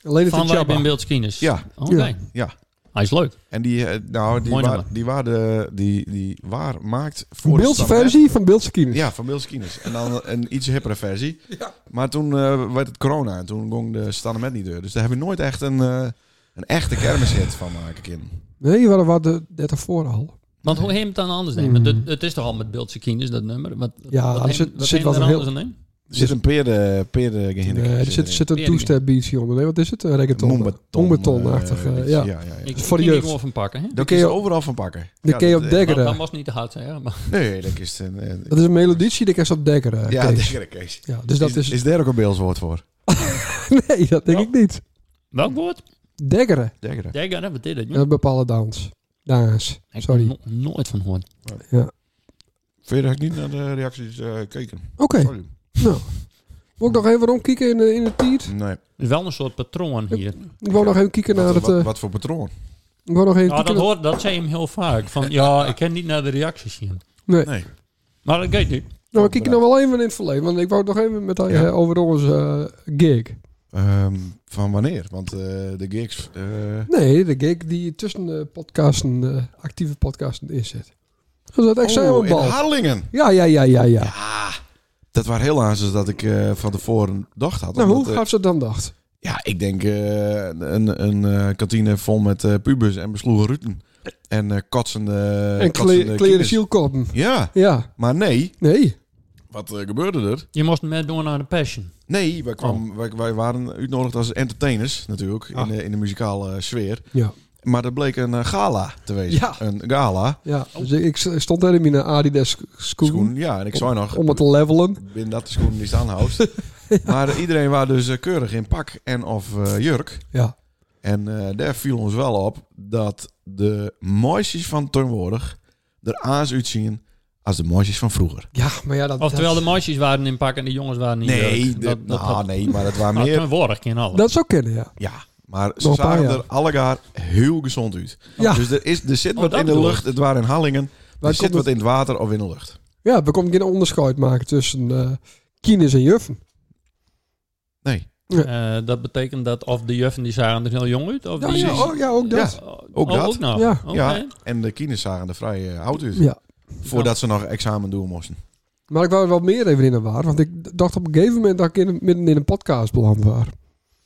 [SPEAKER 4] Alleen het
[SPEAKER 1] van
[SPEAKER 4] en
[SPEAKER 1] Wij Ben
[SPEAKER 4] Chaba.
[SPEAKER 1] Beeldskines.
[SPEAKER 2] ja.
[SPEAKER 1] Oké.
[SPEAKER 4] Ja.
[SPEAKER 2] Ja.
[SPEAKER 1] Hij is leuk.
[SPEAKER 2] En die, eh, nou, die,
[SPEAKER 1] Mooi
[SPEAKER 2] waar,
[SPEAKER 1] nummer.
[SPEAKER 2] die, waar de, die, die waar maakt voor de
[SPEAKER 4] Beeldse
[SPEAKER 2] standaard-
[SPEAKER 4] versie van Beeldse Kines.
[SPEAKER 2] Ja, van Beeldse Kines. En dan een iets hippere versie.
[SPEAKER 4] Ja.
[SPEAKER 2] Maar toen eh, werd het corona en toen ging de Stanne Met niet deur. Dus daar heb ik nooit echt een, eh, een echte kermishit van maken, kind.
[SPEAKER 4] Nee, we waren de 30 voor al.
[SPEAKER 1] Want hoe heet het dan anders nemen? Want het, het is toch al met Beeldskines, dat nummer? Wat,
[SPEAKER 4] Mm. Ja,
[SPEAKER 1] wat
[SPEAKER 4] er
[SPEAKER 1] heem-
[SPEAKER 4] zit-
[SPEAKER 1] wat
[SPEAKER 4] zit
[SPEAKER 1] heem
[SPEAKER 4] wel
[SPEAKER 1] er
[SPEAKER 4] een heel-
[SPEAKER 1] anders aan?
[SPEAKER 2] Er zit een peerde, peerde
[SPEAKER 4] Nee, er zit, zit een
[SPEAKER 1] Weer niet.
[SPEAKER 4] two-step beatje onder. Nee, wat is het? Een reggaeton. Moembeton-achtig, eh, ja.
[SPEAKER 2] ja. ja, ja.
[SPEAKER 1] Ik,
[SPEAKER 4] Voor
[SPEAKER 1] voor
[SPEAKER 4] de
[SPEAKER 1] ik kan
[SPEAKER 4] jeugd.
[SPEAKER 1] er gewoon van pakken. Hè?
[SPEAKER 2] Daar kun je overal van pakken.
[SPEAKER 4] De
[SPEAKER 2] Ja,
[SPEAKER 4] Keo
[SPEAKER 2] dat, eh,
[SPEAKER 1] Dat, dat
[SPEAKER 4] Dekkeren.
[SPEAKER 1] was niet te hard zeggen. Maar
[SPEAKER 2] Nee, dat is een... eh,
[SPEAKER 4] Dat is een melodietje, die kan je op Dekkeren.
[SPEAKER 2] ja,
[SPEAKER 4] Kees.
[SPEAKER 2] Dekkeren, Kees.
[SPEAKER 4] ja, dus dat is...
[SPEAKER 2] Is daar ook een Beels woord voor?
[SPEAKER 4] Nee, dat denk ik niet.
[SPEAKER 1] welk woord?
[SPEAKER 4] Dekkeren.
[SPEAKER 2] Dekkeren.
[SPEAKER 1] Degger, hè, wat is dit? joh?
[SPEAKER 4] Een Eh, bepaalde dans. Daans.
[SPEAKER 1] Ik
[SPEAKER 4] Sorry.
[SPEAKER 1] Hm? heb er no- nooit van gehoord.
[SPEAKER 2] Verder heb ik niet naar de reacties eh, gekeken.
[SPEAKER 4] Oké,
[SPEAKER 2] Sorry.
[SPEAKER 4] nou. Moet ik nog even rondkijken in, de- in het tiet?
[SPEAKER 2] Nee.
[SPEAKER 1] Er is wel een soort patroon hier.
[SPEAKER 4] Ik wou nog even kijken naar
[SPEAKER 2] Wat,
[SPEAKER 4] het...
[SPEAKER 2] wat,
[SPEAKER 4] eh,
[SPEAKER 2] wat voor patroon?
[SPEAKER 4] Ik wou nog even
[SPEAKER 1] Nou, dat,
[SPEAKER 4] kijken naar-
[SPEAKER 1] hoort, dat zei hem heel vaak. Van ja, ik ken niet naar de reacties zien.
[SPEAKER 4] Nee.
[SPEAKER 2] Nee.
[SPEAKER 1] Maar dat weet niet.
[SPEAKER 4] Nou, we kijken nog wel even in het verleden. Want ik wou het nog even met hij
[SPEAKER 2] Ja.
[SPEAKER 4] eh, over onze eh, gig.
[SPEAKER 2] Ehm, van wanneer? Want eh, de gigs... eh,
[SPEAKER 4] Nee, de gig die tussen de podcasten, eh, actieve podcasten in zit. Dus dat
[SPEAKER 2] oh, in
[SPEAKER 4] examenbal.
[SPEAKER 2] Harlingen.
[SPEAKER 4] ja, ja, ja, ja, ja.
[SPEAKER 2] Dat waren heel aanzien dat ik eh, van tevoren dacht had.
[SPEAKER 4] nou, hoe
[SPEAKER 2] Omdat, eh,
[SPEAKER 4] gaat ze dan dacht?
[SPEAKER 2] ja, ik denk eh, een, een eh, kantine vol met eh, pubers en besloegen ruten. En eh, katsende...
[SPEAKER 4] en
[SPEAKER 2] katsende
[SPEAKER 4] kle kleren
[SPEAKER 2] kinders.
[SPEAKER 4] zielkoppen.
[SPEAKER 2] Ja,
[SPEAKER 4] Ja,
[SPEAKER 2] maar nee.
[SPEAKER 4] nee.
[SPEAKER 2] Wat eh, gebeurde er?
[SPEAKER 1] Je moest met door naar de passion.
[SPEAKER 2] Nee, wij, kwam, wij, wij waren uitnodigd als entertainers natuurlijk.
[SPEAKER 4] Oh. Ah.
[SPEAKER 2] In, de, in de muzikale eh, sfeer.
[SPEAKER 4] Ja,
[SPEAKER 2] Maar dat bleek een eh, gala te wezen.
[SPEAKER 4] Ja.
[SPEAKER 2] Een gala.
[SPEAKER 4] ja. Dus ik- ik s- stond daar in mijn Adidas schoen,
[SPEAKER 2] Schoen. Ja, en ik zei nog...
[SPEAKER 4] om het te levelen.
[SPEAKER 2] Binnen dat de schoenen die staan houdt. Maar eh, iedereen was dus eh, keurig in pak en of eh, jurk.
[SPEAKER 4] Ja,
[SPEAKER 2] En eh, daar viel ons wel op dat de mooisjes van tegenwoordig er aans uitzien als de mooisjes van vroeger.
[SPEAKER 4] ja maar ja, dat...
[SPEAKER 1] Oftewel, de
[SPEAKER 4] dat,
[SPEAKER 1] meisjes waren in pak en de jongens waren niet.
[SPEAKER 2] Nee,
[SPEAKER 1] leuk.
[SPEAKER 2] de-
[SPEAKER 1] dat, dat,
[SPEAKER 2] nou,
[SPEAKER 1] dat,
[SPEAKER 2] nee, maar dat waren
[SPEAKER 1] nou,
[SPEAKER 2] meer...
[SPEAKER 1] tegenwoordig in alles.
[SPEAKER 4] dat zou kunnen, ja.
[SPEAKER 2] Ja, maar ze
[SPEAKER 4] Nog een paar
[SPEAKER 2] zagen
[SPEAKER 4] jaar.
[SPEAKER 2] er allegaar heel gezond uit.
[SPEAKER 4] Ja.
[SPEAKER 2] Dus er, is, er zit
[SPEAKER 1] Oh,
[SPEAKER 2] wat
[SPEAKER 1] dat
[SPEAKER 2] in de
[SPEAKER 1] bedoel
[SPEAKER 2] lucht, het waren in Hallingen.
[SPEAKER 4] Waar
[SPEAKER 2] Er zit
[SPEAKER 4] komt
[SPEAKER 2] wat
[SPEAKER 4] het-
[SPEAKER 2] in het water of in de lucht.
[SPEAKER 4] Ja, we konden geen onderscheid maken tussen eh kines en juffen.
[SPEAKER 2] Nee,
[SPEAKER 1] Eh, dat betekent dat of de juffen die zagen er heel jong uit. Of
[SPEAKER 4] Ja,
[SPEAKER 1] die
[SPEAKER 4] ja, oh, ja, ook dat.
[SPEAKER 2] Ja.
[SPEAKER 1] Oh,
[SPEAKER 2] ook dat.
[SPEAKER 1] Ook nog.
[SPEAKER 4] Ja.
[SPEAKER 1] Oké.
[SPEAKER 2] Ja, en de kines zagen er vrij eh, oud uit.
[SPEAKER 4] ja.
[SPEAKER 2] Voordat ze nog examen doen moesten.
[SPEAKER 4] Maar ik wou er wel meer even in waar, want ik dacht op een gegeven moment dat ik in, een- midden in een podcast beland was.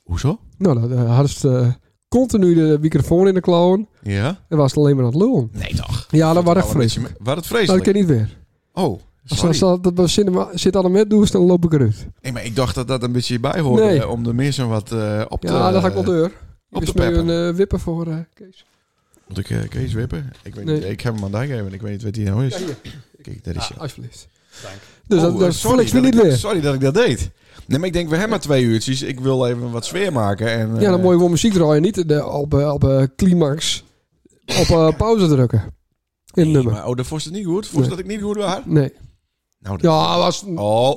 [SPEAKER 2] Hoezo?
[SPEAKER 4] Nou, dat eh, hadden ze het, eh, continu de microfoon in de klauwen.
[SPEAKER 2] Ja?
[SPEAKER 4] En was het alleen maar aan het lullen.
[SPEAKER 2] Nee toch.
[SPEAKER 4] Ja, dat was echt
[SPEAKER 2] Alle mensen-
[SPEAKER 4] vreselijk.
[SPEAKER 2] Waar het
[SPEAKER 4] Dat
[SPEAKER 2] vreselijk?
[SPEAKER 4] kan niet weer.
[SPEAKER 2] Oh,
[SPEAKER 4] Als dat,
[SPEAKER 2] sorry.
[SPEAKER 4] dat, dat, dat cinema- zit aan de met doest, dan loop ik eruit.
[SPEAKER 2] Nee, maar ik dacht dat dat een beetje bij hoorde.
[SPEAKER 4] Nee.
[SPEAKER 2] eh, Om de mensen wat eh, op te...
[SPEAKER 4] Ja, dan ga ik wel deur.
[SPEAKER 2] op te
[SPEAKER 4] Er is nu een
[SPEAKER 2] peppen.
[SPEAKER 4] eh, wipper voor eh, Kees.
[SPEAKER 2] Moet ik eh, Kees wippen? Ik, weet
[SPEAKER 4] Nee.
[SPEAKER 2] niet, ik heb hem aan daar gegeven. Ik weet niet wat hij nou is.
[SPEAKER 4] Ja, hier.
[SPEAKER 2] Kijk, daar is hij.
[SPEAKER 4] Alsjeblieft.
[SPEAKER 1] Dank.
[SPEAKER 4] Dus
[SPEAKER 2] Oh,
[SPEAKER 4] dat,
[SPEAKER 2] eh,
[SPEAKER 4] dat
[SPEAKER 2] sorry
[SPEAKER 4] voel ik me
[SPEAKER 2] dat
[SPEAKER 4] niet
[SPEAKER 2] ik-
[SPEAKER 4] weer.
[SPEAKER 2] Sorry dat ik dat deed. Nee, maar ik denk, we hebben maar twee uurtjes. Ik wil even wat sfeer maken. En,
[SPEAKER 4] Ja, dan
[SPEAKER 2] eh,
[SPEAKER 4] moet je wel muziek draaien. Niet de, op, eh, op eh, climax. Op eh, pauze drukken. In het
[SPEAKER 2] nee,
[SPEAKER 4] nummer.
[SPEAKER 2] maar, oh, dat vond je het niet goed? Vond je
[SPEAKER 4] Nee.
[SPEAKER 2] dat ik niet goed was?
[SPEAKER 4] Nee.
[SPEAKER 2] Nou, dat-
[SPEAKER 4] Ja, was,
[SPEAKER 2] Oh,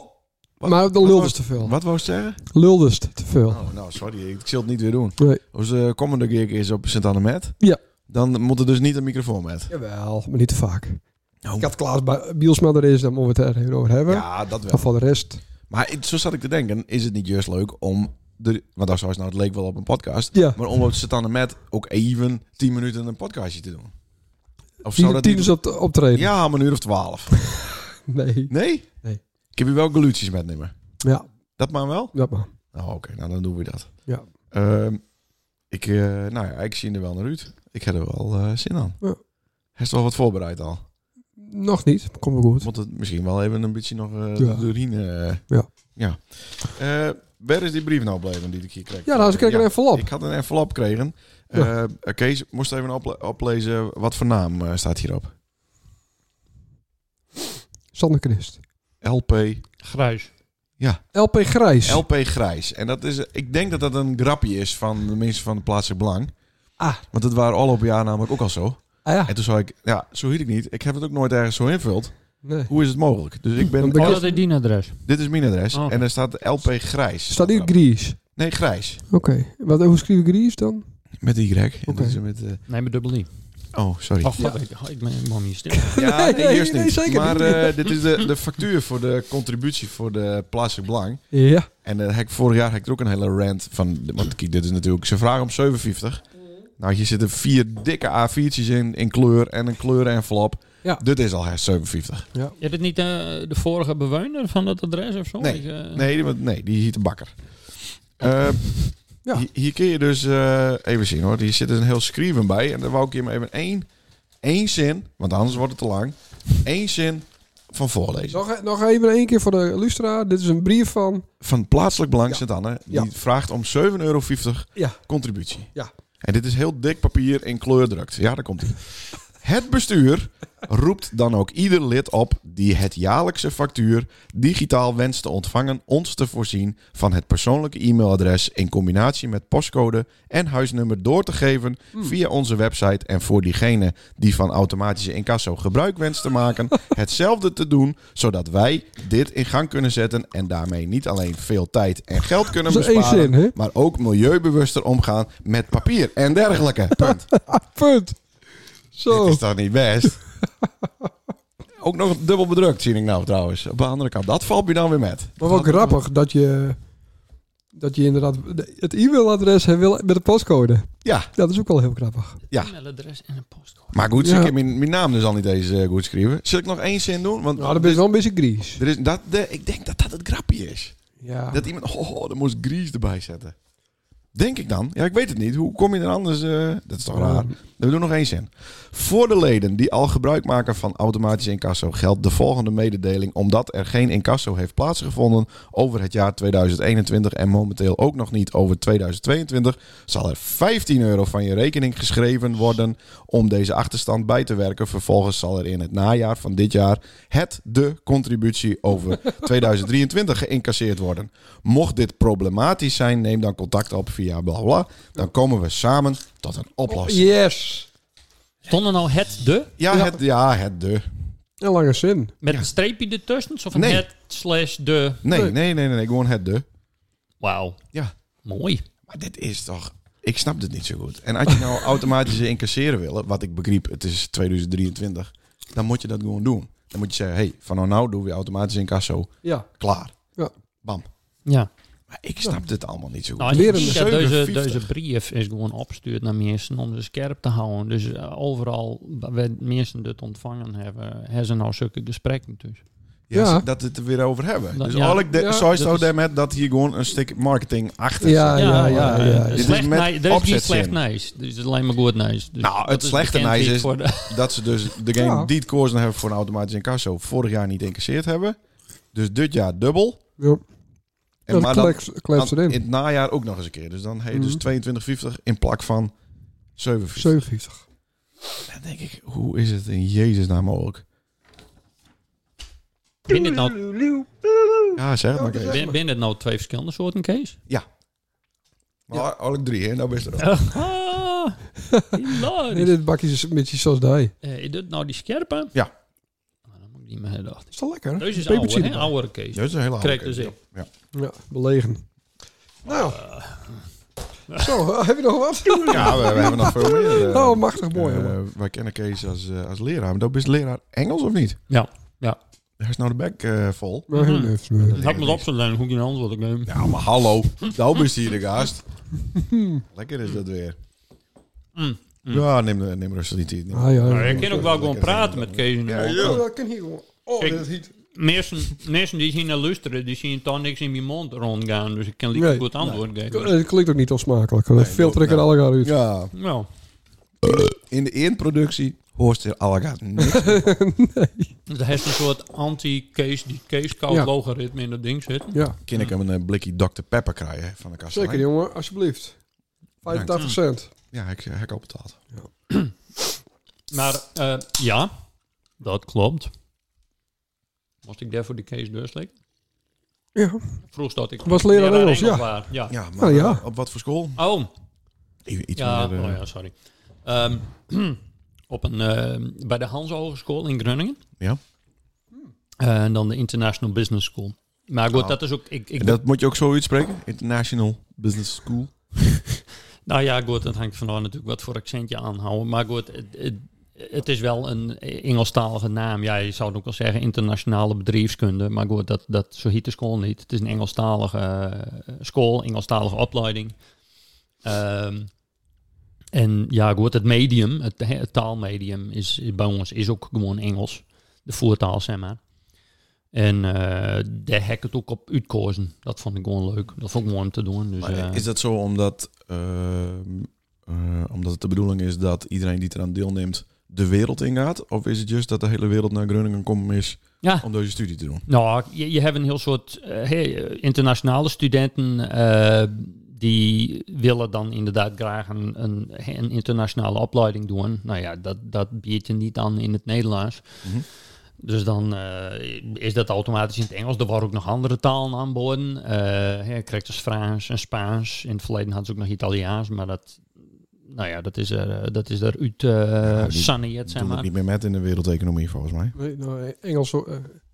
[SPEAKER 2] wat-
[SPEAKER 4] maar de
[SPEAKER 2] wat
[SPEAKER 4] lulde
[SPEAKER 2] was-
[SPEAKER 4] is te veel.
[SPEAKER 2] wat wou je zeggen?
[SPEAKER 4] Lulde is te veel.
[SPEAKER 2] Oh, nou, sorry. Ik zal het niet weer doen.
[SPEAKER 4] Nee.
[SPEAKER 2] Als de komende gig is op sint anne met
[SPEAKER 4] Ja.
[SPEAKER 2] dan moet er dus niet een microfoon met.
[SPEAKER 4] Jawel, maar niet te vaak.
[SPEAKER 2] Oh.
[SPEAKER 4] Ik had Klaas bij- Bielsma er is, dan moeten we het er even over hebben.
[SPEAKER 2] Ja, dat wel.
[SPEAKER 4] Maar voor de rest,
[SPEAKER 2] Maar het- zo zat ik te denken, is het niet juist leuk om... De, want dat zou nou, het leek wel op een podcast.
[SPEAKER 4] ja.
[SPEAKER 2] Maar om op zit aan de met ook even 10 minuten een podcastje te doen. Of zou
[SPEAKER 4] Tien
[SPEAKER 2] dat
[SPEAKER 4] tien
[SPEAKER 2] niet-
[SPEAKER 4] is op te- optreden.
[SPEAKER 2] Ja, om een uur of twaalf.
[SPEAKER 4] Nee.
[SPEAKER 2] Nee?
[SPEAKER 4] Nee.
[SPEAKER 2] Ik heb hier wel geluidjes metnemen.
[SPEAKER 4] Ja,
[SPEAKER 2] Dat maar wel?
[SPEAKER 4] dat maar.
[SPEAKER 2] Nou, oké. nou, dan doen we dat.
[SPEAKER 4] Ja.
[SPEAKER 2] Ehm, ik, eh, nou ja, ik zie er wel naar uit. Ik heb er wel eh, zin aan.
[SPEAKER 4] Ja.
[SPEAKER 2] Heeft wel wat voorbereid al?
[SPEAKER 4] Nog niet. Komt wel goed.
[SPEAKER 2] Moet het misschien wel even een beetje nog eh
[SPEAKER 4] Ja.
[SPEAKER 2] de urine... eh,
[SPEAKER 4] Ja.
[SPEAKER 2] ja. Eh, waar is die brief nou gebleven die ik hier kreeg?
[SPEAKER 4] Ja, nou, ze kregen een envelop.
[SPEAKER 2] Ik had een envelop gekregen. Eh Kees, moest even ople- oplezen wat voor naam eh, staat hierop.
[SPEAKER 4] Sander Christ.
[SPEAKER 2] LP,
[SPEAKER 1] Gruis.
[SPEAKER 4] LP Grijs.
[SPEAKER 2] LP Grijs. En dat is, eh, ik denk dat dat een grapje is van de mensen van de plaatselijk belang.
[SPEAKER 4] Ah.
[SPEAKER 2] Want het waren al op jaar namelijk ook al zo.
[SPEAKER 4] Ah ja.
[SPEAKER 2] En toen zei ik, ja, zo hield ik niet. Ik heb het ook nooit ergens zo invuld.
[SPEAKER 4] Nee.
[SPEAKER 2] Hoe is het mogelijk? Dus ik ben...
[SPEAKER 4] Dan ben ik-
[SPEAKER 1] Oh, dat is die adres.
[SPEAKER 2] Dit is mijn adres.
[SPEAKER 1] Oh, oké.
[SPEAKER 2] En er staat LP Grijs.
[SPEAKER 4] Staat hier Gries.
[SPEAKER 2] Nee, Grijs.
[SPEAKER 4] Oké. Wat, hoe schrijf je Gries dan?
[SPEAKER 2] Met Y. En
[SPEAKER 4] Oké.
[SPEAKER 2] dat is met, eh,
[SPEAKER 1] Nee, maar dubbel I.
[SPEAKER 2] oh, sorry.
[SPEAKER 1] Oh, god, ik, ik ben helemaal niet stil.
[SPEAKER 2] Ja,
[SPEAKER 4] Nee,
[SPEAKER 2] nee,
[SPEAKER 4] nee,
[SPEAKER 2] juist
[SPEAKER 4] nee,
[SPEAKER 2] niet.
[SPEAKER 4] zeker
[SPEAKER 2] maar
[SPEAKER 4] niet.
[SPEAKER 2] eh, dit is de, de factuur voor de contributie voor de plaatselijk belang.
[SPEAKER 4] Ja.
[SPEAKER 2] En eh, heb ik vorig jaar heb ik er ook een hele rant van. Want kijk, dit is natuurlijk. Ze vragen om 57. Nou, hier zitten vier dikke A4'tjes in, in kleur en een kleurenvelop.
[SPEAKER 4] Ja.
[SPEAKER 2] Dit is al her 57.
[SPEAKER 1] Je hebt het niet eh, de vorige bewoner van dat adres of zo?
[SPEAKER 2] Nee.
[SPEAKER 1] Ik, eh,
[SPEAKER 2] Nee, die, want- nee, die heet de bakker. Eh,
[SPEAKER 4] Ja.
[SPEAKER 2] hier, hier kun je dus eh, even zien hoor. Hier zit dus een heel schrijven bij. En daar wou ik je maar even één, één zin, want anders wordt het te lang. Één zin van voorlezen.
[SPEAKER 4] Nog, e-, nog even één keer voor de Lustra. Dit is een brief van...
[SPEAKER 2] van plaatselijk belang
[SPEAKER 4] Ja.
[SPEAKER 2] Sint-Anne. Die
[SPEAKER 4] Ja.
[SPEAKER 2] vraagt om 7,50 euro
[SPEAKER 4] Ja.
[SPEAKER 2] contributie.
[SPEAKER 4] Ja.
[SPEAKER 2] En dit is heel dik papier in kleurdrukt. Ja, daar komt ie. Het bestuur roept dan ook ieder lid op die het jaarlijkse factuur digitaal wenst te ontvangen ons te voorzien van het persoonlijke e-mailadres in combinatie met postcode en huisnummer door te geven
[SPEAKER 4] Hmm.
[SPEAKER 2] via onze website en voor diegene die van automatische incasso gebruik wenst te maken hetzelfde te doen zodat wij dit in gang kunnen zetten en daarmee niet alleen veel tijd en geld kunnen
[SPEAKER 4] Dat is één
[SPEAKER 2] besparen
[SPEAKER 4] zin, hè?
[SPEAKER 2] maar ook milieubewuster omgaan met papier en dergelijke. Punt.
[SPEAKER 4] Punt. Zo.
[SPEAKER 2] Dit is toch niet best? ook nog dubbel bedrukt, zie ik nou trouwens. Op de andere kant, dat valt me dan weer met.
[SPEAKER 4] Maar wel grappig dat je... Dat je inderdaad het e-mailadres hè, wil met de postcode.
[SPEAKER 2] Ja, Nou,
[SPEAKER 4] Dat is ook wel heel grappig.
[SPEAKER 2] Ja.
[SPEAKER 1] E-mailadres en een postcode.
[SPEAKER 2] maar goed,
[SPEAKER 4] Ja.
[SPEAKER 2] ik heb mijn, mijn naam dus al niet eens eh, goed schrijven. Zal ik nog één zin doen? Want
[SPEAKER 4] Nou, dat ben je wel een beetje Gries.
[SPEAKER 2] er is, dat, de, ik denk dat dat het grapje is.
[SPEAKER 4] Ja.
[SPEAKER 2] Dat iemand, oh, daar moest Gries erbij zetten. Denk ik dan. Ja, ik weet het niet. Hoe kom je er anders? eh, dat is toch raar. We doen nog één zin. Voor de leden die al gebruik maken van automatisch incasso geldt de volgende mededeling. Omdat er geen incasso heeft plaatsgevonden over het jaar 2021 en momenteel ook nog niet over 2022, zal er 15 euro van je rekening geschreven worden om deze achterstand bij te werken. Vervolgens zal er in het najaar van dit jaar het de contributie over 2023 geïncasseerd worden. Mocht dit problematisch zijn, neem dan contact op via bla bla. Dan komen we samen tot een oplossing.
[SPEAKER 4] Yes.
[SPEAKER 1] Stonden al het de?
[SPEAKER 2] Ja, het, ja, het de.
[SPEAKER 4] Een lange zin.
[SPEAKER 1] Met een streepje ertussen? Of een
[SPEAKER 2] Nee.
[SPEAKER 1] het slash de?
[SPEAKER 2] Nee, nee, nee, nee, nee, gewoon het de.
[SPEAKER 1] Wauw.
[SPEAKER 2] Ja.
[SPEAKER 1] Mooi.
[SPEAKER 2] Maar dit is toch... Ik snap dit niet zo goed. En als je nou automatische incasseren wil, wat ik begreep, het is 2023, dan moet je dat gewoon doen. Dan moet je zeggen, hey, van nou nou doen we automatisch incasso.
[SPEAKER 4] Ja.
[SPEAKER 2] Klaar.
[SPEAKER 4] Ja.
[SPEAKER 2] Bam.
[SPEAKER 1] Ja.
[SPEAKER 2] Maar ik snap dit allemaal niet zo goed.
[SPEAKER 1] Nou, ik
[SPEAKER 4] Leren
[SPEAKER 1] zie
[SPEAKER 4] de
[SPEAKER 1] dat deze,
[SPEAKER 2] 57.
[SPEAKER 1] deze brief is gewoon opgestuurd naar mensen om ze scherp te houden. Dus eh, overal waar mensen dit ontvangen hebben, hebben ze nou zulke gesprekken dus.
[SPEAKER 2] Ja,
[SPEAKER 4] Ja.
[SPEAKER 2] dat het er weer over hebben.
[SPEAKER 1] Dat-
[SPEAKER 2] dus
[SPEAKER 1] ja.
[SPEAKER 2] al ik de,
[SPEAKER 4] Ja.
[SPEAKER 2] zou
[SPEAKER 1] Dat is-
[SPEAKER 2] dat met dat hier gewoon een stuk marketing achter
[SPEAKER 4] Ja,
[SPEAKER 2] zit.
[SPEAKER 4] ja, ja. ja,
[SPEAKER 1] Eh, Het
[SPEAKER 2] Dit is
[SPEAKER 1] Slecht
[SPEAKER 2] met
[SPEAKER 1] nee, er is niet
[SPEAKER 2] opzet
[SPEAKER 1] slecht
[SPEAKER 2] zin.
[SPEAKER 1] nice. Er is alleen maar goed nice. Dus
[SPEAKER 2] Nou,
[SPEAKER 1] dat
[SPEAKER 2] het
[SPEAKER 1] is
[SPEAKER 2] slechte
[SPEAKER 1] bekend
[SPEAKER 2] nice
[SPEAKER 1] iets
[SPEAKER 2] is-
[SPEAKER 1] voor de-
[SPEAKER 2] Dat ze dus de game
[SPEAKER 4] Ja.
[SPEAKER 2] die het koersen hebben voor een automatisch incasso vorig jaar niet incasseerd hebben. Dus dit jaar dubbel.
[SPEAKER 4] Ja.
[SPEAKER 2] En
[SPEAKER 4] dat
[SPEAKER 2] maar dan
[SPEAKER 4] kleps, kleps
[SPEAKER 2] aan-
[SPEAKER 4] erin.
[SPEAKER 2] in het najaar ook nog eens een keer. Dus dan heb je
[SPEAKER 4] Mhm.
[SPEAKER 2] dus 22,50 in plak van 7,50.
[SPEAKER 4] 57.
[SPEAKER 2] Dan denk ik, hoe is het in Jezus naam mogelijk?
[SPEAKER 1] Ben dit nou,
[SPEAKER 2] Ja, zeg het maar. Kees.
[SPEAKER 1] ben, ben dit nou twee verschillende soorten, Kees?
[SPEAKER 2] Maar al ik drie, hè? Nou best wel.
[SPEAKER 1] Ah,
[SPEAKER 4] Nee,
[SPEAKER 1] hilarisch.
[SPEAKER 4] dit bakje is een beetje zoals die.
[SPEAKER 1] Eh, Is dit nou die scherpe?
[SPEAKER 2] Ja.
[SPEAKER 1] Maar dat moet ik niet meer herdacht.
[SPEAKER 4] Is dat lekker?
[SPEAKER 1] Deze is
[SPEAKER 4] Pepertje
[SPEAKER 1] ouder, hè?
[SPEAKER 4] erbij.
[SPEAKER 1] Oudere Kees.
[SPEAKER 2] Dat is een hele
[SPEAKER 1] Krijg
[SPEAKER 2] handige-
[SPEAKER 1] dus in.
[SPEAKER 2] Ja.
[SPEAKER 4] Ja, belegen. Nou. Zo, heb je nog wat?
[SPEAKER 2] Ja, we, we hebben nog veel meer. eh.
[SPEAKER 4] Oh, machtig mooi,
[SPEAKER 2] Eh,
[SPEAKER 4] jongen.
[SPEAKER 2] wij kennen Kees als, eh, als leraar. Maar dat is leraar Engels of niet?
[SPEAKER 1] Ja, ja.
[SPEAKER 2] Hij is nou de bek eh, vol.
[SPEAKER 4] Maar
[SPEAKER 1] Mhm.
[SPEAKER 4] hij heeft
[SPEAKER 2] mm-hmm.
[SPEAKER 4] me.
[SPEAKER 1] Dat had me opgeleid, hoe ik een antwoord ik neem.
[SPEAKER 2] Ja, maar hallo. Nou is hier de gast. Lekker is dat weer.
[SPEAKER 1] Mm, mm.
[SPEAKER 2] Ja, neem, neem rustig niet hier. Neem-
[SPEAKER 4] Ah, ja,
[SPEAKER 1] Maar
[SPEAKER 4] ja.
[SPEAKER 1] ik kan ook wel gewoon praten met Kees en
[SPEAKER 2] Ja,
[SPEAKER 1] Wal.
[SPEAKER 2] ja.
[SPEAKER 4] Oh, dat kan hier gewoon. Oh,
[SPEAKER 1] Ik-
[SPEAKER 4] dit is heet.
[SPEAKER 1] Mensen, mensen die zien naar luisteren, die zien toch niks in mijn mond rondgaan. Dus ik kan liever
[SPEAKER 4] Nee.
[SPEAKER 1] goed antwoord geven.
[SPEAKER 4] Het klinkt ook niet onsmakelijk. Dat
[SPEAKER 2] Nee,
[SPEAKER 4] filter ik
[SPEAKER 2] nee.
[SPEAKER 4] er alle jaar uit.
[SPEAKER 2] Ja,
[SPEAKER 1] Nou,
[SPEAKER 2] in de eindproductie hoort er allegaat niks.
[SPEAKER 1] het heeft een soort anti-Kees, die
[SPEAKER 4] Ja.
[SPEAKER 1] Kees-koud-logaritme in dat ding zit.
[SPEAKER 4] Ja,
[SPEAKER 2] Kan ik hem een eh, blikje Dr. Pepper krijgen hè, van de kast.
[SPEAKER 4] zeker jongen, alsjeblieft. 85 cent.
[SPEAKER 2] Ja, ik heb al betaald.
[SPEAKER 1] Maar eh, ja, dat klopt. Moest ik daarvoor de Kees deurslikken?
[SPEAKER 4] Ja,
[SPEAKER 1] Vroeg dat ik.
[SPEAKER 4] Was leraar Engels, ja.
[SPEAKER 1] waar, ja.
[SPEAKER 2] Ja, maar
[SPEAKER 4] Nou, ja.
[SPEAKER 2] eh, op wat voor school?
[SPEAKER 1] Oh,
[SPEAKER 2] I- Iets
[SPEAKER 1] ja,
[SPEAKER 2] meer, eh,
[SPEAKER 1] oh ja, sorry. Ehm, op een, eh, bij de Hans Hogeschool in Groningen.
[SPEAKER 2] Ja.
[SPEAKER 1] Eh, en dan de International Business School. Maar goed,
[SPEAKER 2] Oh.
[SPEAKER 1] dat is ook... Ik, ik,
[SPEAKER 2] En dat moet je ook zo uitspreken? International Business School.
[SPEAKER 1] Nou ja, goed, dat hangt vanaf natuurlijk wat voor accent je aanhouden. Maar goed, het, het, het is wel een Engelstalige naam. Ja, je zou het ook wel zeggen internationale bedrijfskunde. Maar goed, dat, dat, zo heet de school niet. Het is een Engelstalige eh, school, Engelstalige opleiding. Ehm, en ja, goed, het medium, het, hè, het taalmedium is, is bij ons is ook gewoon Engels. De voertaal, zeg maar. En eh daar heb ik het ook op uitkozen. Dat vond ik gewoon leuk. Dat vond ik mooi om te doen. Dus,
[SPEAKER 2] Maar
[SPEAKER 1] eh,
[SPEAKER 2] is dat zo omdat, ehm, eh, omdat het de bedoeling is dat iedereen die eraan deelneemt de wereld ingaat? Of is het juist dat de hele wereld naar Groningen komt is
[SPEAKER 1] Ja.
[SPEAKER 2] om deze studie te doen?
[SPEAKER 1] Nou, je, je hebt een heel soort eh, hey, eh, internationale studenten eh, die willen dan inderdaad graag een, een, een internationale opleiding doen. Nou ja, dat, dat biedt je niet aan in het Nederlands.
[SPEAKER 2] Mhm.
[SPEAKER 1] Dus dan eh, is dat automatisch in het Engels. Er waren ook nog andere talen aan boden. Eh, hè, je krijgt dus Frans en Spaans. In het verleden hadden ze ook nog Italiaans, maar dat, nou ja, dat is er, eh, dat is er uit eh
[SPEAKER 2] Nou, die
[SPEAKER 1] saneerd, zeg
[SPEAKER 2] Doen het
[SPEAKER 1] maar.
[SPEAKER 2] niet meer met in de wereldeconomie volgens mij.
[SPEAKER 4] Nee, nou, Engels, eh,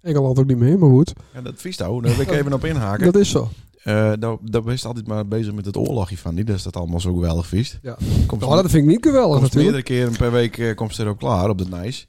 [SPEAKER 4] Engeland ook niet meer, maar goed.
[SPEAKER 2] Ja, dat vies nou. Daar wil ik even op inhaken.
[SPEAKER 4] Dat is zo.
[SPEAKER 2] Eh daar daar ben je altijd maar bezig met het oorlogje van die. Dus dat allemaal zo geweldig vies.
[SPEAKER 4] Ja.
[SPEAKER 2] Komt
[SPEAKER 4] Nou, dat vind ik niet geweldig
[SPEAKER 2] Komt
[SPEAKER 4] natuurlijk.
[SPEAKER 2] meerdere keren per week eh, komt ze erop klaar op de NICE.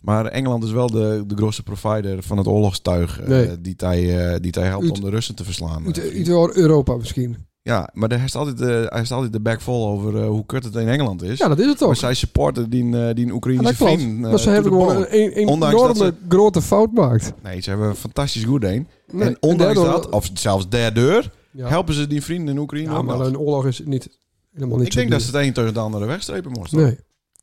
[SPEAKER 2] Maar Engeland is wel de, de grootste provider van het oorlogstuig eh,
[SPEAKER 4] Nee.
[SPEAKER 2] die hij eh, die hij helpt
[SPEAKER 4] Uit-
[SPEAKER 2] om de Russen te verslaan. eh,
[SPEAKER 4] Uit, uit door Europa misschien.
[SPEAKER 2] Ja, maar daar is altijd, eh, hij is altijd de bek vol over eh, hoe kut het in Engeland is.
[SPEAKER 4] Ja, dat is het
[SPEAKER 2] maar
[SPEAKER 4] ook.
[SPEAKER 2] zij supporten die, eh, die
[SPEAKER 4] Ja,
[SPEAKER 2] Oekraïnse
[SPEAKER 4] dat klopt.
[SPEAKER 2] vriend. eh,
[SPEAKER 4] maar ze
[SPEAKER 2] to
[SPEAKER 4] hebben
[SPEAKER 2] the
[SPEAKER 4] gewoon
[SPEAKER 2] bone.
[SPEAKER 4] een, een
[SPEAKER 2] Ondanks dat
[SPEAKER 4] enorme grote fout maakt.
[SPEAKER 2] Nee, ze hebben een fantastisch goed een.
[SPEAKER 4] Nee,
[SPEAKER 2] en ondanks
[SPEAKER 4] daardoor-
[SPEAKER 2] dat, of zelfs derdeur,
[SPEAKER 4] Ja.
[SPEAKER 2] helpen ze die vrienden in Oekraïne
[SPEAKER 4] Ja,
[SPEAKER 2] ook
[SPEAKER 4] Nou, maar
[SPEAKER 2] nog.
[SPEAKER 4] een oorlog is niet helemaal niet
[SPEAKER 2] Ik
[SPEAKER 4] zo
[SPEAKER 2] denk dat ze
[SPEAKER 4] duur.
[SPEAKER 2] het een tegen de andere wegstrepen moesten.
[SPEAKER 4] Nee.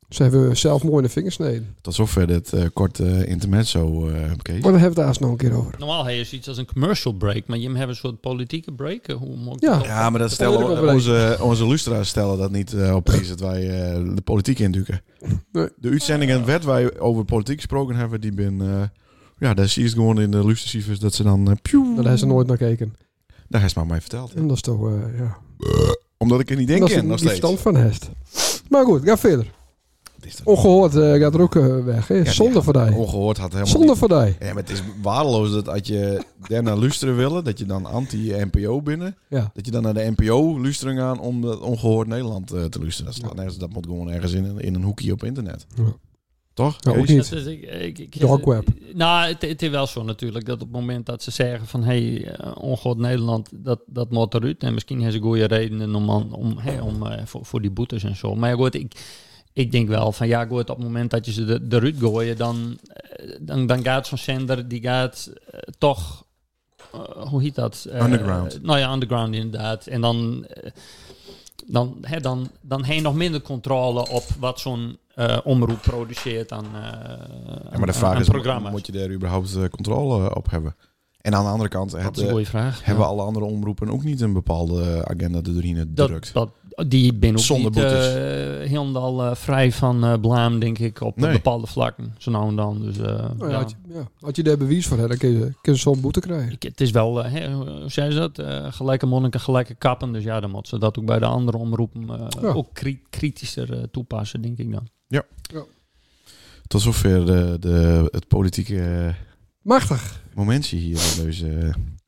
[SPEAKER 4] Ze hebben zelf mooi in de vingers sneden.
[SPEAKER 2] Tot zover dit eh, korte intermezzo, eh Kees.
[SPEAKER 4] Maar daar hebben we het daar eens nog een keer over.
[SPEAKER 1] Normaal heb je iets als een commercial break, maar je hebt een soort politieke break. eh, Hoe moet ik
[SPEAKER 4] Ja.
[SPEAKER 1] dat
[SPEAKER 2] Ja, maar dat
[SPEAKER 4] wil ik
[SPEAKER 2] stellen
[SPEAKER 4] wel
[SPEAKER 2] onze, onze lustra's stellen dat niet eh, op prijs dat wij eh, de politiek induiken.
[SPEAKER 4] Nee.
[SPEAKER 2] De uitzendingen werd wij over politiek gesproken hebben, die ben... eh, ja, daar zie je het gewoon in de lustercijfers dat ze dan... eh, pjoe,
[SPEAKER 4] Daar hebben ze nooit naar gekeken.
[SPEAKER 2] daar heeft ze maar mij verteld.
[SPEAKER 4] En dat is toch, eh ja.
[SPEAKER 2] Omdat ik er niet
[SPEAKER 4] dat
[SPEAKER 2] denk
[SPEAKER 4] is
[SPEAKER 2] in,
[SPEAKER 4] een
[SPEAKER 2] nog steeds.
[SPEAKER 4] verstand van Hest. Maar goed, ga verder.
[SPEAKER 2] Het is toch niet-
[SPEAKER 4] Ongehoord eh, gaat er ook eh, weg. Hè?
[SPEAKER 2] die
[SPEAKER 4] Zonder voor die.
[SPEAKER 2] Ongehoord had helemaal
[SPEAKER 4] Zonder
[SPEAKER 2] niet-
[SPEAKER 4] voor die.
[SPEAKER 2] Ja, maar het is waardeloos dat als je daarna luisteren willen, dat je dan anti-NPO binnen,
[SPEAKER 4] Ja.
[SPEAKER 2] dat je dan naar de NPO luisteren gaat om dat ongehoord Nederland eh, te luisteren. Dat, slaat nergens, dat moet gewoon ergens in, een- in een hoekje op internet.
[SPEAKER 4] Ja.
[SPEAKER 2] Toch?
[SPEAKER 4] Ja,
[SPEAKER 2] Kees?
[SPEAKER 4] ook niet.
[SPEAKER 1] Dat is- ik- ik- ik-
[SPEAKER 4] Dark web.
[SPEAKER 1] Nou, het, het is wel zo natuurlijk dat op het moment dat ze zeggen van hé, hey, ongoed Nederland, dat, dat moet eruit. En misschien hebben ze goede redenen om, aan- om, hè, om eh, voor, voor die boetes en zo. Maar ja, goed, ik, ik denk wel van ja, goed, op het moment dat je ze de- eruit gooien, dan, eh, dan, dan gaat zo'n zender, die gaat eh, toch, eh, hoe heet dat? Eh,
[SPEAKER 2] Underground.
[SPEAKER 1] nou ja, underground inderdaad. En dan, eh, dan, hè, dan, dan heb je nog minder controle op wat zo'n eh, omroep produceert aan, eh
[SPEAKER 2] Ja, maar de
[SPEAKER 1] aan-
[SPEAKER 2] vraag
[SPEAKER 1] aan
[SPEAKER 2] is,
[SPEAKER 1] programma's.
[SPEAKER 2] moet je daar überhaupt eh, controle op hebben? En aan de andere kant, het,
[SPEAKER 1] dat is een
[SPEAKER 2] eh,
[SPEAKER 1] goede vraag.
[SPEAKER 2] hebben alle andere omroepen ook niet een bepaalde agenda erin
[SPEAKER 1] dat,
[SPEAKER 2] drukt?
[SPEAKER 1] dat, die ben ook
[SPEAKER 2] Zonder
[SPEAKER 1] niet
[SPEAKER 2] boetes.
[SPEAKER 1] eh, helemaal eh, vrij van eh, blaam, denk ik, op
[SPEAKER 2] Nee.
[SPEAKER 1] bepaalde vlakken. Zo nou en dan. Dus, eh,
[SPEAKER 4] Nou, ja,
[SPEAKER 1] ja.
[SPEAKER 4] Had, je, ja, had je daar bewijs voor, hè, dan kun je, kun je zo'n boete krijgen.
[SPEAKER 1] Ik- het is wel, eh, hè, hoe zei ze dat? Eh, gelijke monniken, gelijke kappen. Dus ja, dan moet ze dat ook bij de andere omroepen eh,
[SPEAKER 4] Ja.
[SPEAKER 1] ook kri- kritischer eh, toepassen, denk ik dan.
[SPEAKER 2] Tot zover de, de, het politieke
[SPEAKER 4] Machtig.
[SPEAKER 2] momentje hier. in deze.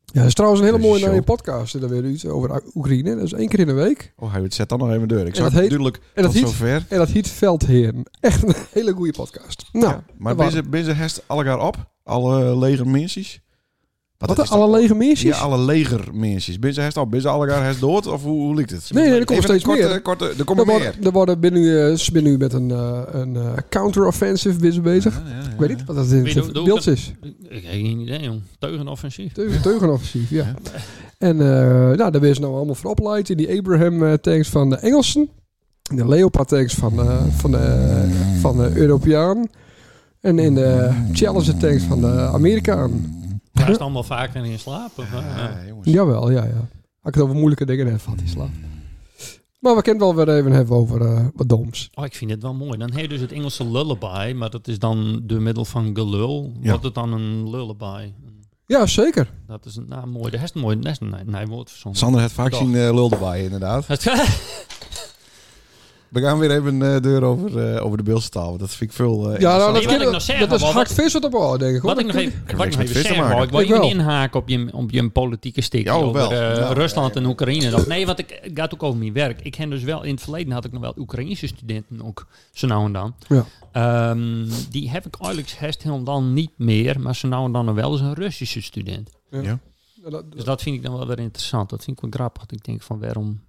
[SPEAKER 4] Ja, dat is trouwens een hele
[SPEAKER 2] Deze
[SPEAKER 4] mooie
[SPEAKER 2] show.
[SPEAKER 4] nieuwe podcast. Er weer iets over Oekraïne. Dat is één keer in de week.
[SPEAKER 2] Oh, hij zet dan nog even deur. Ik zag
[SPEAKER 4] dat heet-
[SPEAKER 2] duidelijk
[SPEAKER 4] En dat
[SPEAKER 2] tot
[SPEAKER 4] heet,
[SPEAKER 2] zover.
[SPEAKER 4] en dat heet Veldheren. Echt een hele goede podcast. Nou,
[SPEAKER 2] Ja, maar
[SPEAKER 4] dat
[SPEAKER 2] binnen binnen hest allegaar op? Alle leger mensen?
[SPEAKER 4] wat de alle lege meisjes?
[SPEAKER 2] Ja, alle leger mensen. Binnen hest op? Binnen allegaar hest dood? Of hoe, hoe liep het?
[SPEAKER 4] Nee, nee, er komt
[SPEAKER 2] Even
[SPEAKER 4] steeds
[SPEAKER 2] een korte,
[SPEAKER 4] meer.
[SPEAKER 2] Korte, er
[SPEAKER 4] er
[SPEAKER 2] komen meer.
[SPEAKER 4] worden, er worden binnen, eh, ze zijn nu met een, eh, een eh, counter-offensive bezig. bezig.
[SPEAKER 2] Ja, ja, ja,
[SPEAKER 4] Ik weet niet
[SPEAKER 2] ja.
[SPEAKER 4] wat dat in
[SPEAKER 1] Weet je,
[SPEAKER 4] het
[SPEAKER 1] doe-
[SPEAKER 4] beeld is.
[SPEAKER 1] Ik heb geen idee, jong. Teugenoffensief.
[SPEAKER 4] Teugen- Teugenoffensief, ja.
[SPEAKER 2] Ja.
[SPEAKER 4] En eh, nou, daar ben ze nou allemaal voor opgeleid in die Abraham-tanks van de Engelsen. In de Leopard-tanks van, eh, van de, van de Europeaan. En in de Challenger-tanks van de Amerikaan.
[SPEAKER 1] Hij is allemaal vaker in slaap. of, eh?
[SPEAKER 2] Ja, jongens.
[SPEAKER 4] Jawel, ja, ja. Had ik het over moeilijke dingen heb, had die slaap. Maar we kunnen het wel weer even hebben over eh, wat doms.
[SPEAKER 1] Oh, ik vind het wel mooi. Dan heet dus het Engelse lullaby, maar dat is dan door middel van gelul.
[SPEAKER 2] Ja.
[SPEAKER 1] Wordt het dan een lullaby?
[SPEAKER 4] Ja, zeker.
[SPEAKER 1] Dat is een nou, mooi. Dat is een mooi dat is een nee, nee, woord verzonnen.
[SPEAKER 2] Sander het vaak
[SPEAKER 1] Dag.
[SPEAKER 2] zien eh, lul erbij, inderdaad. We gaan weer even eh deur over, eh, over de Beelse taal. want Dat vind ik veel. eh,
[SPEAKER 4] Ja, nou,
[SPEAKER 2] interessanter.
[SPEAKER 1] wat
[SPEAKER 4] dat,
[SPEAKER 1] ik
[SPEAKER 4] kunnen-
[SPEAKER 1] nog zeggen,
[SPEAKER 4] dat is
[SPEAKER 1] wat-
[SPEAKER 4] hard vis wat op al, denk ik. hoor.
[SPEAKER 1] Wat ik nog
[SPEAKER 4] Dat-
[SPEAKER 1] even,
[SPEAKER 2] heb
[SPEAKER 1] wat ik
[SPEAKER 2] niks
[SPEAKER 1] nog
[SPEAKER 2] met
[SPEAKER 1] even
[SPEAKER 2] vis te
[SPEAKER 1] zeggen
[SPEAKER 2] maken.
[SPEAKER 1] wou, ik wil
[SPEAKER 4] Ik wel.
[SPEAKER 1] even inhaken op je, op je politieke stick
[SPEAKER 2] Ja,
[SPEAKER 1] over
[SPEAKER 2] wel.
[SPEAKER 1] eh,
[SPEAKER 2] Ja.
[SPEAKER 1] Rusland en Oekraïne. Dat, nee, want ik, het gaat ook over mijn werk. Ik ken dus wel, in het verleden had ik nog wel Oekraïnse studenten ook, zo nou en dan.
[SPEAKER 4] Ja.
[SPEAKER 1] Ehm, die heb ik eigenlijk herst heel dan niet meer, maar zo nou en dan nog wel eens een Russische student.
[SPEAKER 4] Ja, dat-
[SPEAKER 1] Dus dat vind ik dan wel weer interessant. Dat vind ik wel grappig. Ik denk van waarom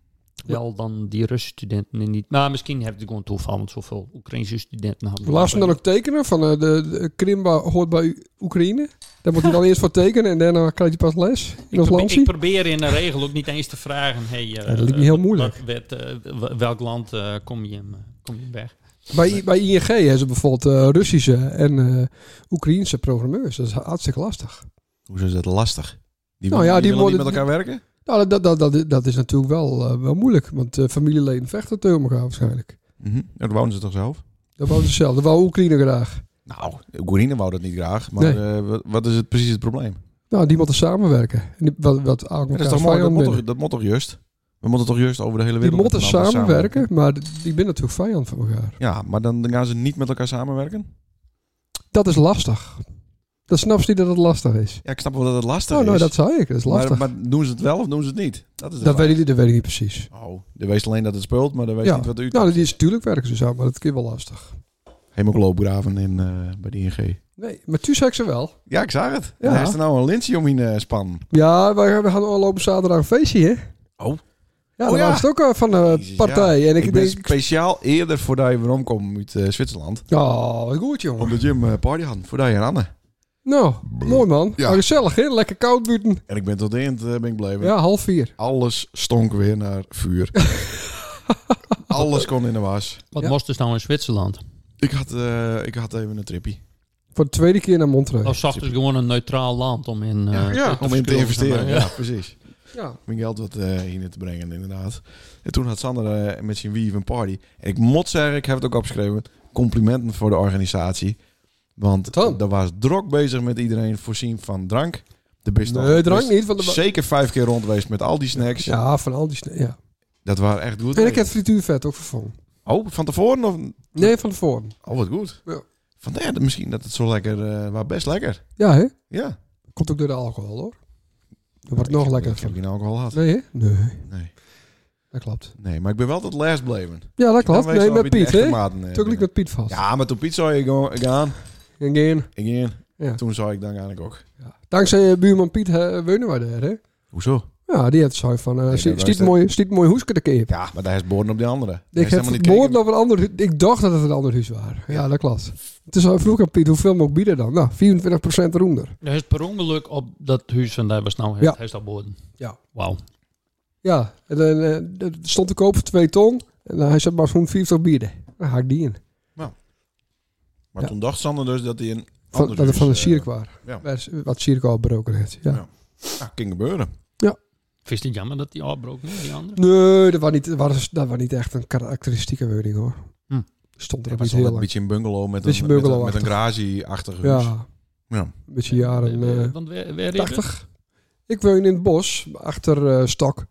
[SPEAKER 1] wel dan die Russische studenten en niet. Maar misschien heb ik gewoon toeval, want zoveel Oekraïnse studenten hadden.
[SPEAKER 4] Laat ze dan ook tekenen van eh, de, de Krim ba- hoort bij U- Oekraïne. Daar moet hij dan eerst voor tekenen en daarna krijgt hij pas les in
[SPEAKER 1] Ik
[SPEAKER 4] ons
[SPEAKER 1] probeer, ik
[SPEAKER 4] landje.
[SPEAKER 1] probeer in de regel ook niet eens te vragen. Hey, eh,
[SPEAKER 4] Ja, dat lijkt me heel moeilijk.
[SPEAKER 1] wat werd, eh, w- welk land eh, kom, je, hem, eh, kom je weg?
[SPEAKER 4] Bij, I- bij ING hebben ze bijvoorbeeld eh, Russische en eh Oekraïense programmeurs. Dat is hartstikke lastig.
[SPEAKER 2] Hoezo is dat lastig? Die,
[SPEAKER 4] Nou
[SPEAKER 2] wil-
[SPEAKER 4] ja,
[SPEAKER 2] die,
[SPEAKER 4] die
[SPEAKER 2] willen niet met
[SPEAKER 4] worden-
[SPEAKER 2] elkaar werken?
[SPEAKER 4] Nou, dat, dat, dat, dat is natuurlijk wel, eh, wel moeilijk, want eh, familieleden vechten tegen elkaar waarschijnlijk.
[SPEAKER 2] Mhm. Ja, dat wonen ze toch zelf?
[SPEAKER 4] Dat wou ze zelf, dat wou Oekraïne graag.
[SPEAKER 2] Nou, Oekraïne wou dat niet graag. Maar
[SPEAKER 4] Nee.
[SPEAKER 2] eh, wat, wat is het, precies het probleem?
[SPEAKER 4] Nou, die moeten samenwerken. En die, wat, wat aan
[SPEAKER 2] Ja, dat,
[SPEAKER 4] elkaar
[SPEAKER 2] is toch mooi, dat,
[SPEAKER 4] vijand
[SPEAKER 2] moet
[SPEAKER 4] binnen.
[SPEAKER 2] toch, dat moet toch juist? We moeten toch juist over de hele
[SPEAKER 4] Die
[SPEAKER 2] wereld
[SPEAKER 4] moeten
[SPEAKER 2] met elkaar
[SPEAKER 4] samenwerken, maar d- die zijn natuurlijk vijand van elkaar.
[SPEAKER 2] Ja, maar dan, dan gaan ze niet met elkaar samenwerken?
[SPEAKER 4] Dat is lastig. Dat snapt ze niet dat het lastig is.
[SPEAKER 2] Ja, ik snap wel dat het lastig
[SPEAKER 4] Oh, nou,
[SPEAKER 2] is.
[SPEAKER 4] dat zei ik. Dat is lastig.
[SPEAKER 2] maar, maar doen ze het wel of doen ze het niet? Dat is de
[SPEAKER 4] dat,
[SPEAKER 2] vraag.
[SPEAKER 4] weet ik, dat weet ik niet precies.
[SPEAKER 2] Oh, de wees alleen dat het speelt, maar de wees
[SPEAKER 4] Ja.
[SPEAKER 2] niet wat u...
[SPEAKER 4] Nou, dat is natuurlijk werken ze samen, maar dat is wel lastig.
[SPEAKER 2] Hemogloograven in, eh, bij de ING.
[SPEAKER 4] Nee, maar toen zei ik ze wel.
[SPEAKER 2] Ja, ik zag het.
[SPEAKER 4] Ja.
[SPEAKER 2] En Hij is er nou een lintje om in eh, span.
[SPEAKER 4] Ja, we gaan, we gaan lopen zaterdag een feestje, hè?
[SPEAKER 2] Oh.
[SPEAKER 4] Ja,
[SPEAKER 2] Oh,
[SPEAKER 4] dat
[SPEAKER 2] ja.
[SPEAKER 4] was het ook eh, van de
[SPEAKER 2] Jezus,
[SPEAKER 4] partij. En
[SPEAKER 2] Ik,
[SPEAKER 4] ik,
[SPEAKER 2] ben
[SPEAKER 4] denk,
[SPEAKER 2] speciaal eerder voordat je weer omkomt uit eh, Zwitserland.
[SPEAKER 4] oh, wat goed, jongen.
[SPEAKER 2] Omdat Jim eh, party had voordat je en Anne.
[SPEAKER 4] Nou, mooi man.
[SPEAKER 2] Ja.
[SPEAKER 4] Ja. gezellig, hè? Lekker koud buiten.
[SPEAKER 2] En ik ben tot de eind eh, ben ik blijven.
[SPEAKER 4] Ja, half vier.
[SPEAKER 2] Alles stonk weer naar vuur. Alles kon in de was.
[SPEAKER 1] Wat
[SPEAKER 4] Ja.
[SPEAKER 1] moest dus nou in Zwitserland?
[SPEAKER 2] Ik had, eh, ik had even een trippie.
[SPEAKER 4] Voor de tweede keer naar Montreux.
[SPEAKER 1] Of zocht dus gewoon een neutraal land om in eh,
[SPEAKER 2] Ja, om in te
[SPEAKER 1] verschuren,
[SPEAKER 2] investeren.
[SPEAKER 1] zeg
[SPEAKER 2] Ja,
[SPEAKER 1] maar. Ja.
[SPEAKER 2] precies.
[SPEAKER 4] Ja.
[SPEAKER 2] Mijn geld wat eh hierin te brengen, inderdaad. En toen had Sander eh, met zijn wief een party. En ik moet zeggen, ik heb het ook opgeschreven. Complimenten voor de organisatie. Want
[SPEAKER 4] Tom.
[SPEAKER 2] er was drok bezig met iedereen voorzien van drank. De best
[SPEAKER 4] Nee, drank niet. Want de
[SPEAKER 2] Zeker vijf keer rond geweest met al die snacks.
[SPEAKER 4] ja, van al die... sne- Ja.
[SPEAKER 2] Dat waren echt goed.
[SPEAKER 4] En ik heb frituurvet ook vervangen.
[SPEAKER 2] Oh, van tevoren? Of...
[SPEAKER 4] Nee, van tevoren.
[SPEAKER 2] Oh, wat goed.
[SPEAKER 4] Ja.
[SPEAKER 2] Vandaar dat misschien dat het zo lekker eh was. Best lekker.
[SPEAKER 4] Ja, hè?
[SPEAKER 2] Ja.
[SPEAKER 4] Komt ook door de alcohol, hoor. Dan wordt het nog lekker.
[SPEAKER 2] Ik heb
[SPEAKER 4] van.
[SPEAKER 2] geen alcohol gehad.
[SPEAKER 4] Nee, hè? Nee,
[SPEAKER 2] Nee.
[SPEAKER 4] dat klopt.
[SPEAKER 2] nee, maar ik ben wel tot last bleven.
[SPEAKER 4] Ja, dat
[SPEAKER 2] Dan
[SPEAKER 4] klopt.
[SPEAKER 2] weet je
[SPEAKER 4] Nee,
[SPEAKER 2] wel
[SPEAKER 4] met
[SPEAKER 2] wie de
[SPEAKER 4] Piet,
[SPEAKER 2] echte
[SPEAKER 4] hè?
[SPEAKER 2] maten, eh,
[SPEAKER 4] Toen liep
[SPEAKER 2] binnen.
[SPEAKER 4] met Piet vast.
[SPEAKER 2] Ja, maar toen Piet zou je gewoon gaan.
[SPEAKER 4] En geen.
[SPEAKER 2] Ik ging.
[SPEAKER 4] Ja.
[SPEAKER 2] Toen zou ik dan eigenlijk ook.
[SPEAKER 4] Dankzij eh, buurman Piet eh, wonen we daar, hè?
[SPEAKER 2] Hoezo?
[SPEAKER 4] Ja, die heeft zo van, eh
[SPEAKER 2] dat
[SPEAKER 4] stiet
[SPEAKER 2] was
[SPEAKER 4] stiet
[SPEAKER 2] het.
[SPEAKER 4] mooi, stiet mooi hoeske de keer.
[SPEAKER 2] Ja, maar daar is boorden op die andere. Daar
[SPEAKER 4] Ik
[SPEAKER 2] is
[SPEAKER 4] heb
[SPEAKER 2] helemaal niet
[SPEAKER 4] vermoord
[SPEAKER 2] kijken.
[SPEAKER 4] over een ander hu- Ik dacht dat het een ander huis was. Ja, dat klopt. Dus hij vroeg aan Piet, hoeveel moet ik bieden dan? Nou, 24% roender.
[SPEAKER 1] Er is per ongeluk op dat huis en daar was nou
[SPEAKER 4] Ja.
[SPEAKER 1] het huis daar boven.
[SPEAKER 4] Ja.
[SPEAKER 1] Wauw.
[SPEAKER 4] Ja, en dan eh, dat stond te koop voor 2 ton. En eh, hij zei maar zo'n 50 bieden. Dan haak ik die in.
[SPEAKER 2] Maar
[SPEAKER 4] Ja.
[SPEAKER 2] toen dacht Sander dus dat hij een
[SPEAKER 4] Van,
[SPEAKER 2] ander
[SPEAKER 4] dat het van een
[SPEAKER 2] huis, eh,
[SPEAKER 4] cirk was.
[SPEAKER 2] ja.
[SPEAKER 4] Waar- Wat cirk al broken heeft. Ja.
[SPEAKER 2] Ja. ja, ging gebeuren.
[SPEAKER 1] Vind je het jammer dat die afbroken is, die andere?
[SPEAKER 4] Nee, dat was, niet, dat, was, dat was niet echt een karakteristieke wording hoor.
[SPEAKER 1] Hm.
[SPEAKER 4] Stond
[SPEAKER 2] Het
[SPEAKER 4] er ook
[SPEAKER 2] was
[SPEAKER 4] niet
[SPEAKER 2] wel
[SPEAKER 4] heel
[SPEAKER 2] een
[SPEAKER 4] lang.
[SPEAKER 2] beetje een bungalow met
[SPEAKER 4] Beetje
[SPEAKER 2] een, met een, met
[SPEAKER 4] bungalow-achtig.
[SPEAKER 2] een garage-achtig huis.
[SPEAKER 4] Ja,
[SPEAKER 2] Ja.
[SPEAKER 4] een beetje jaren eh,
[SPEAKER 1] Want waar, waar is het?
[SPEAKER 4] 80. Ik woon in het bos, achter eh, Stok.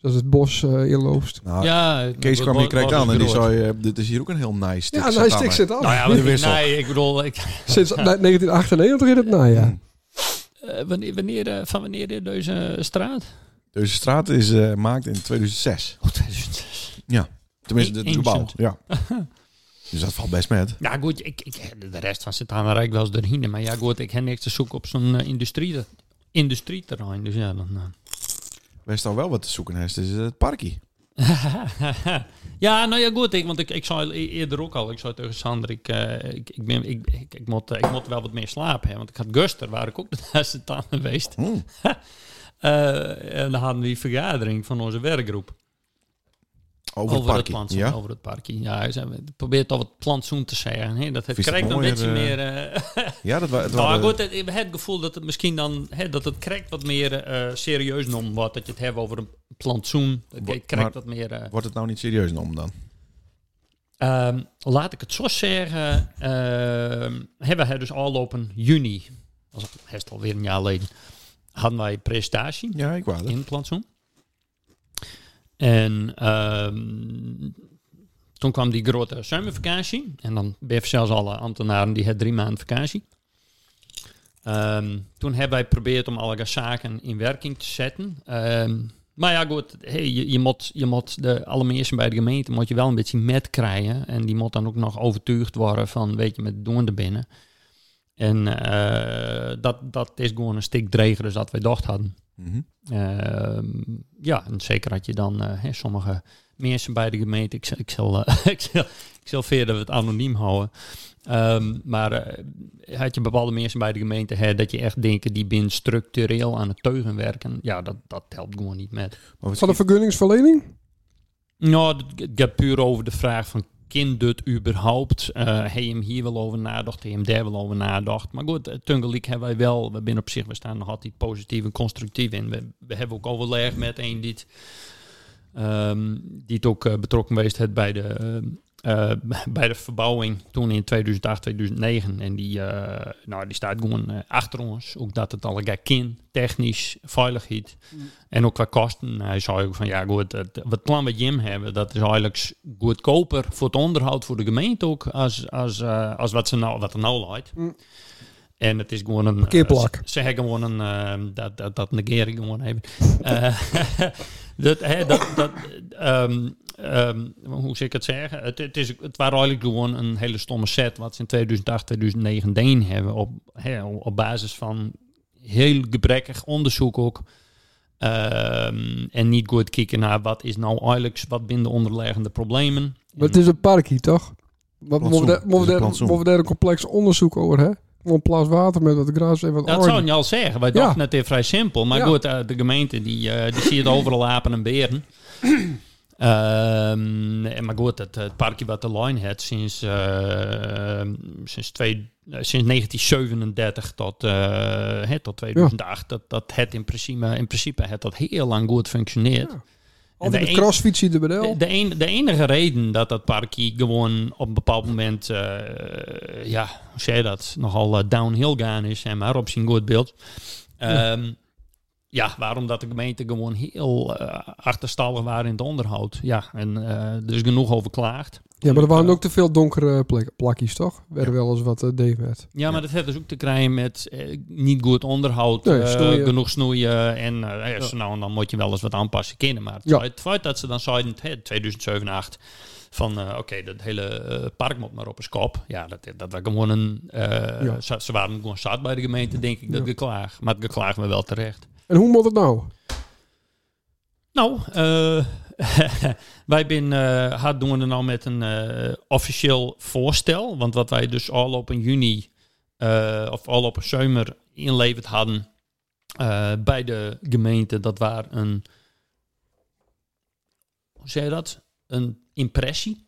[SPEAKER 4] Dat is het bos eh inloopt.
[SPEAKER 2] Nou,
[SPEAKER 1] Ja,
[SPEAKER 2] Kees kwam hier krijgt aan en die
[SPEAKER 1] zou
[SPEAKER 2] zei, Oh, eh, dit is hier ook een heel nice stuk
[SPEAKER 4] Ja, nou,
[SPEAKER 2] satanen.
[SPEAKER 4] stik zit af.
[SPEAKER 1] Nou ja,
[SPEAKER 2] De
[SPEAKER 1] maar ik-
[SPEAKER 2] wissel.
[SPEAKER 1] nee, ik bedoel, ik,
[SPEAKER 4] Sinds na- 1998 in het nou, najaar.
[SPEAKER 2] Mm.
[SPEAKER 1] eh, wanneer, wanneer, eh, van wanneer is deze straat?
[SPEAKER 2] Deze straat is eh, gemaakt in 2006.
[SPEAKER 1] Oh, 2006.
[SPEAKER 2] Tenminste, het
[SPEAKER 1] Ancient.
[SPEAKER 2] gebouw. Ja. dus dat valt best met.
[SPEAKER 1] Ja, Nou goed, ik, ik, de rest van Sint-Anarijk wel eens erheen. Maar ja, goed, ik heb niks te zoeken op zo'n eh, industrie, industrieterrein. Dus ja, dan... eh.
[SPEAKER 2] Wij staan wel wat te zoeken, hè. Dit is het parkie.
[SPEAKER 1] ja, nou ja, goed, ik, want ik, ik zei e- eerder ook al, ik zei tegen Sander, ik, eh, ik, ik, ben, ik, ik, ik, moet, eh, ik moet wel wat meer slapen. Hè, want ik had Guster, waar ik ook de laatste aan geweest.
[SPEAKER 2] Hmm.
[SPEAKER 1] Eh, en dan hadden we die vergadering van onze werkgroep. Over,
[SPEAKER 2] Over, het
[SPEAKER 1] het
[SPEAKER 2] parkie.
[SPEAKER 1] plantsoen.
[SPEAKER 2] ja?
[SPEAKER 1] Over het parkie. Ja, hij zei, we probeert al het plantsoen te zeggen. hè. dat het
[SPEAKER 2] Vies het
[SPEAKER 1] krijgt een
[SPEAKER 2] mooier,
[SPEAKER 1] beetje
[SPEAKER 2] eh,
[SPEAKER 1] meer... eh,
[SPEAKER 2] ja, dat was... Het
[SPEAKER 1] nou,
[SPEAKER 2] waren-
[SPEAKER 1] goed, het- ik heb het gevoel dat het misschien dan... Hè, dat het krijgt wat meer eh, serieus nom wordt. Dat je het hebt over een plantsoen. Dat
[SPEAKER 2] Wa-
[SPEAKER 1] je krijgt
[SPEAKER 2] maar-
[SPEAKER 1] wat meer... eh,
[SPEAKER 2] Wordt het nou niet serieus genomen dan?
[SPEAKER 1] ehm, laat ik het zo zeggen. ehm, hebben we dus al op een juni. Dat is het alweer een jaar geleden. Hadden wij een presentatie.
[SPEAKER 2] Ja, ik wou dat.
[SPEAKER 1] in het plantsoen. En ehm, toen kwam die grote zomervakantie. En dan beef zelfs alle ambtenaren die het drie maanden vakantie. Ehm, toen hebben wij geprobeerd om alle zaken in werking te zetten. Ehm, maar ja, goed, hey, je, je moet, je moet de, alle mensen bij de gemeente moet je wel een beetje met krijgen. En die moet dan ook nog overtuigd worden van, weet je, met doen er binnen. En eh, dat, dat is gewoon een stuk dreger dan dat wij dacht hadden.
[SPEAKER 2] Mhm.
[SPEAKER 1] Ehm, ja, en zeker had je dan eh, hè, sommige mensen bij de gemeente. Ik, zal- ik, zal, eh, ik, zal, ik zal verder het anoniem houden. Ehm, maar eh, had je bepaalde mensen bij de gemeente hè, dat je echt denken die binnen structureel aan het teugen werken. Ja, dat, dat helpt gewoon niet met.
[SPEAKER 2] Maar wat
[SPEAKER 4] Van de vergunningsverlening?
[SPEAKER 1] Nou, het- het gaat puur over de vraag van... Kind dit überhaupt? Eh hij hem hier wel over nadacht, hij hem daar wel over nadacht. Maar goed, eh, Tungeliek hebben wij wel. We zijn op zich, we staan nog altijd positief en constructief in. We, we hebben ook overleg met een die het, ehm, die het ook eh, betrokken geweest heeft bij de, eh, eh, bij de verbouwing toen in 2008, 2009. En die, eh, nou, die staat gewoon eh, achter ons. Ook dat het allemaal kind, technisch, veiligheid.
[SPEAKER 4] Mm.
[SPEAKER 1] En ook qua kosten. Hij zei ook van ja, goed, het, wat plan wat Jim hebben, dat is eigenlijk s- goedkoper voor het onderhoud voor de gemeente ook, als, als, eh, als wat, ze nou, wat er nou leidt.
[SPEAKER 4] Mm.
[SPEAKER 1] En het is gewoon een...
[SPEAKER 4] Parkeerplak.
[SPEAKER 1] eh, Ze, ze hebben gewoon een... eh, dat, dat, dat negeer ik gewoon even. Eh, dat, hè, dat, dat, ehm, ehm, hoe zeg ik het zeggen? Het, het, is, het waren eigenlijk gewoon een hele stomme set wat ze in 2008, 2009 deen hebben. Op, hè, op basis van heel gebrekkig onderzoek ook. Ehm, en niet goed kijken naar wat is nou eigenlijk, wat binnen de onderliggende problemen.
[SPEAKER 4] Maar het is een park hier, toch? Wat
[SPEAKER 2] Plantsoen.
[SPEAKER 4] moeten we daar-
[SPEAKER 2] Het is een
[SPEAKER 4] moeten we daar-
[SPEAKER 2] plantsoen.
[SPEAKER 4] moeten we daar een complex onderzoek over, hè? Gewoon een plas water met wat gras en wat
[SPEAKER 1] dat
[SPEAKER 4] aarde.
[SPEAKER 1] zou je al zeggen. Wij
[SPEAKER 4] Ja.
[SPEAKER 1] dachten het is vrij simpel. Maar
[SPEAKER 4] Ja.
[SPEAKER 1] goed, eh, de gemeente die, eh die ziet overal apen en beren. Ehm, en maar goed, het, het parkje wat de Line had sinds, eh, sinds, twee, eh, sinds 1937 tot, eh, hè, tot 2008, dat, dat het in principe, in principe het dat heel lang goed functioneert.
[SPEAKER 4] Ja. Altijd
[SPEAKER 1] de
[SPEAKER 4] met
[SPEAKER 1] een-
[SPEAKER 4] crossfietsen de bedel.
[SPEAKER 1] De, de, een- de enige reden dat dat parkje gewoon op een bepaald moment, eh, ja, hoe zei je dat, nogal eh, downhill gaan is, en maar op zijn goed beeld. Ehm, ja. waarom dat de gemeente gewoon heel eh, achterstallig waren in het onderhoud. Ja, en eh, er is genoeg over klaagd.
[SPEAKER 4] Ja, maar er waren ook te veel donkere plek, plakjes, toch? Er werden wel eens wat uh, met.
[SPEAKER 1] Ja, maar dat heeft dus ook te krijgen met eh, niet goed onderhoud,
[SPEAKER 4] Nee,
[SPEAKER 1] eh,
[SPEAKER 4] snoeien.
[SPEAKER 1] genoeg snoeien. En eh, ja,
[SPEAKER 4] Ja.
[SPEAKER 1] zo nou, en dan moet je wel eens wat aanpassen kennen. Maar het,
[SPEAKER 4] Ja.
[SPEAKER 1] feit, het feit dat ze dan zeiden, hè, 2007 8 van eh, oké, dat hele eh, park moet maar op een kop. Ja, dat, dat was gewoon een... eh,
[SPEAKER 4] Ja.
[SPEAKER 1] ze, ze waren gewoon zat bij de gemeente, denk ik, dat
[SPEAKER 4] Ja.
[SPEAKER 1] geklaag. Maar het geklaag me wel terecht.
[SPEAKER 4] En hoe moet het nou?
[SPEAKER 1] Nou, eh, wij zijn eh hard doen er nou met een eh, officieel voorstel. Want wat wij dus al op in juni, eh, of al op een zomer inleverd hadden eh, bij de gemeente, dat was een, hoe zei je dat? Een impressie.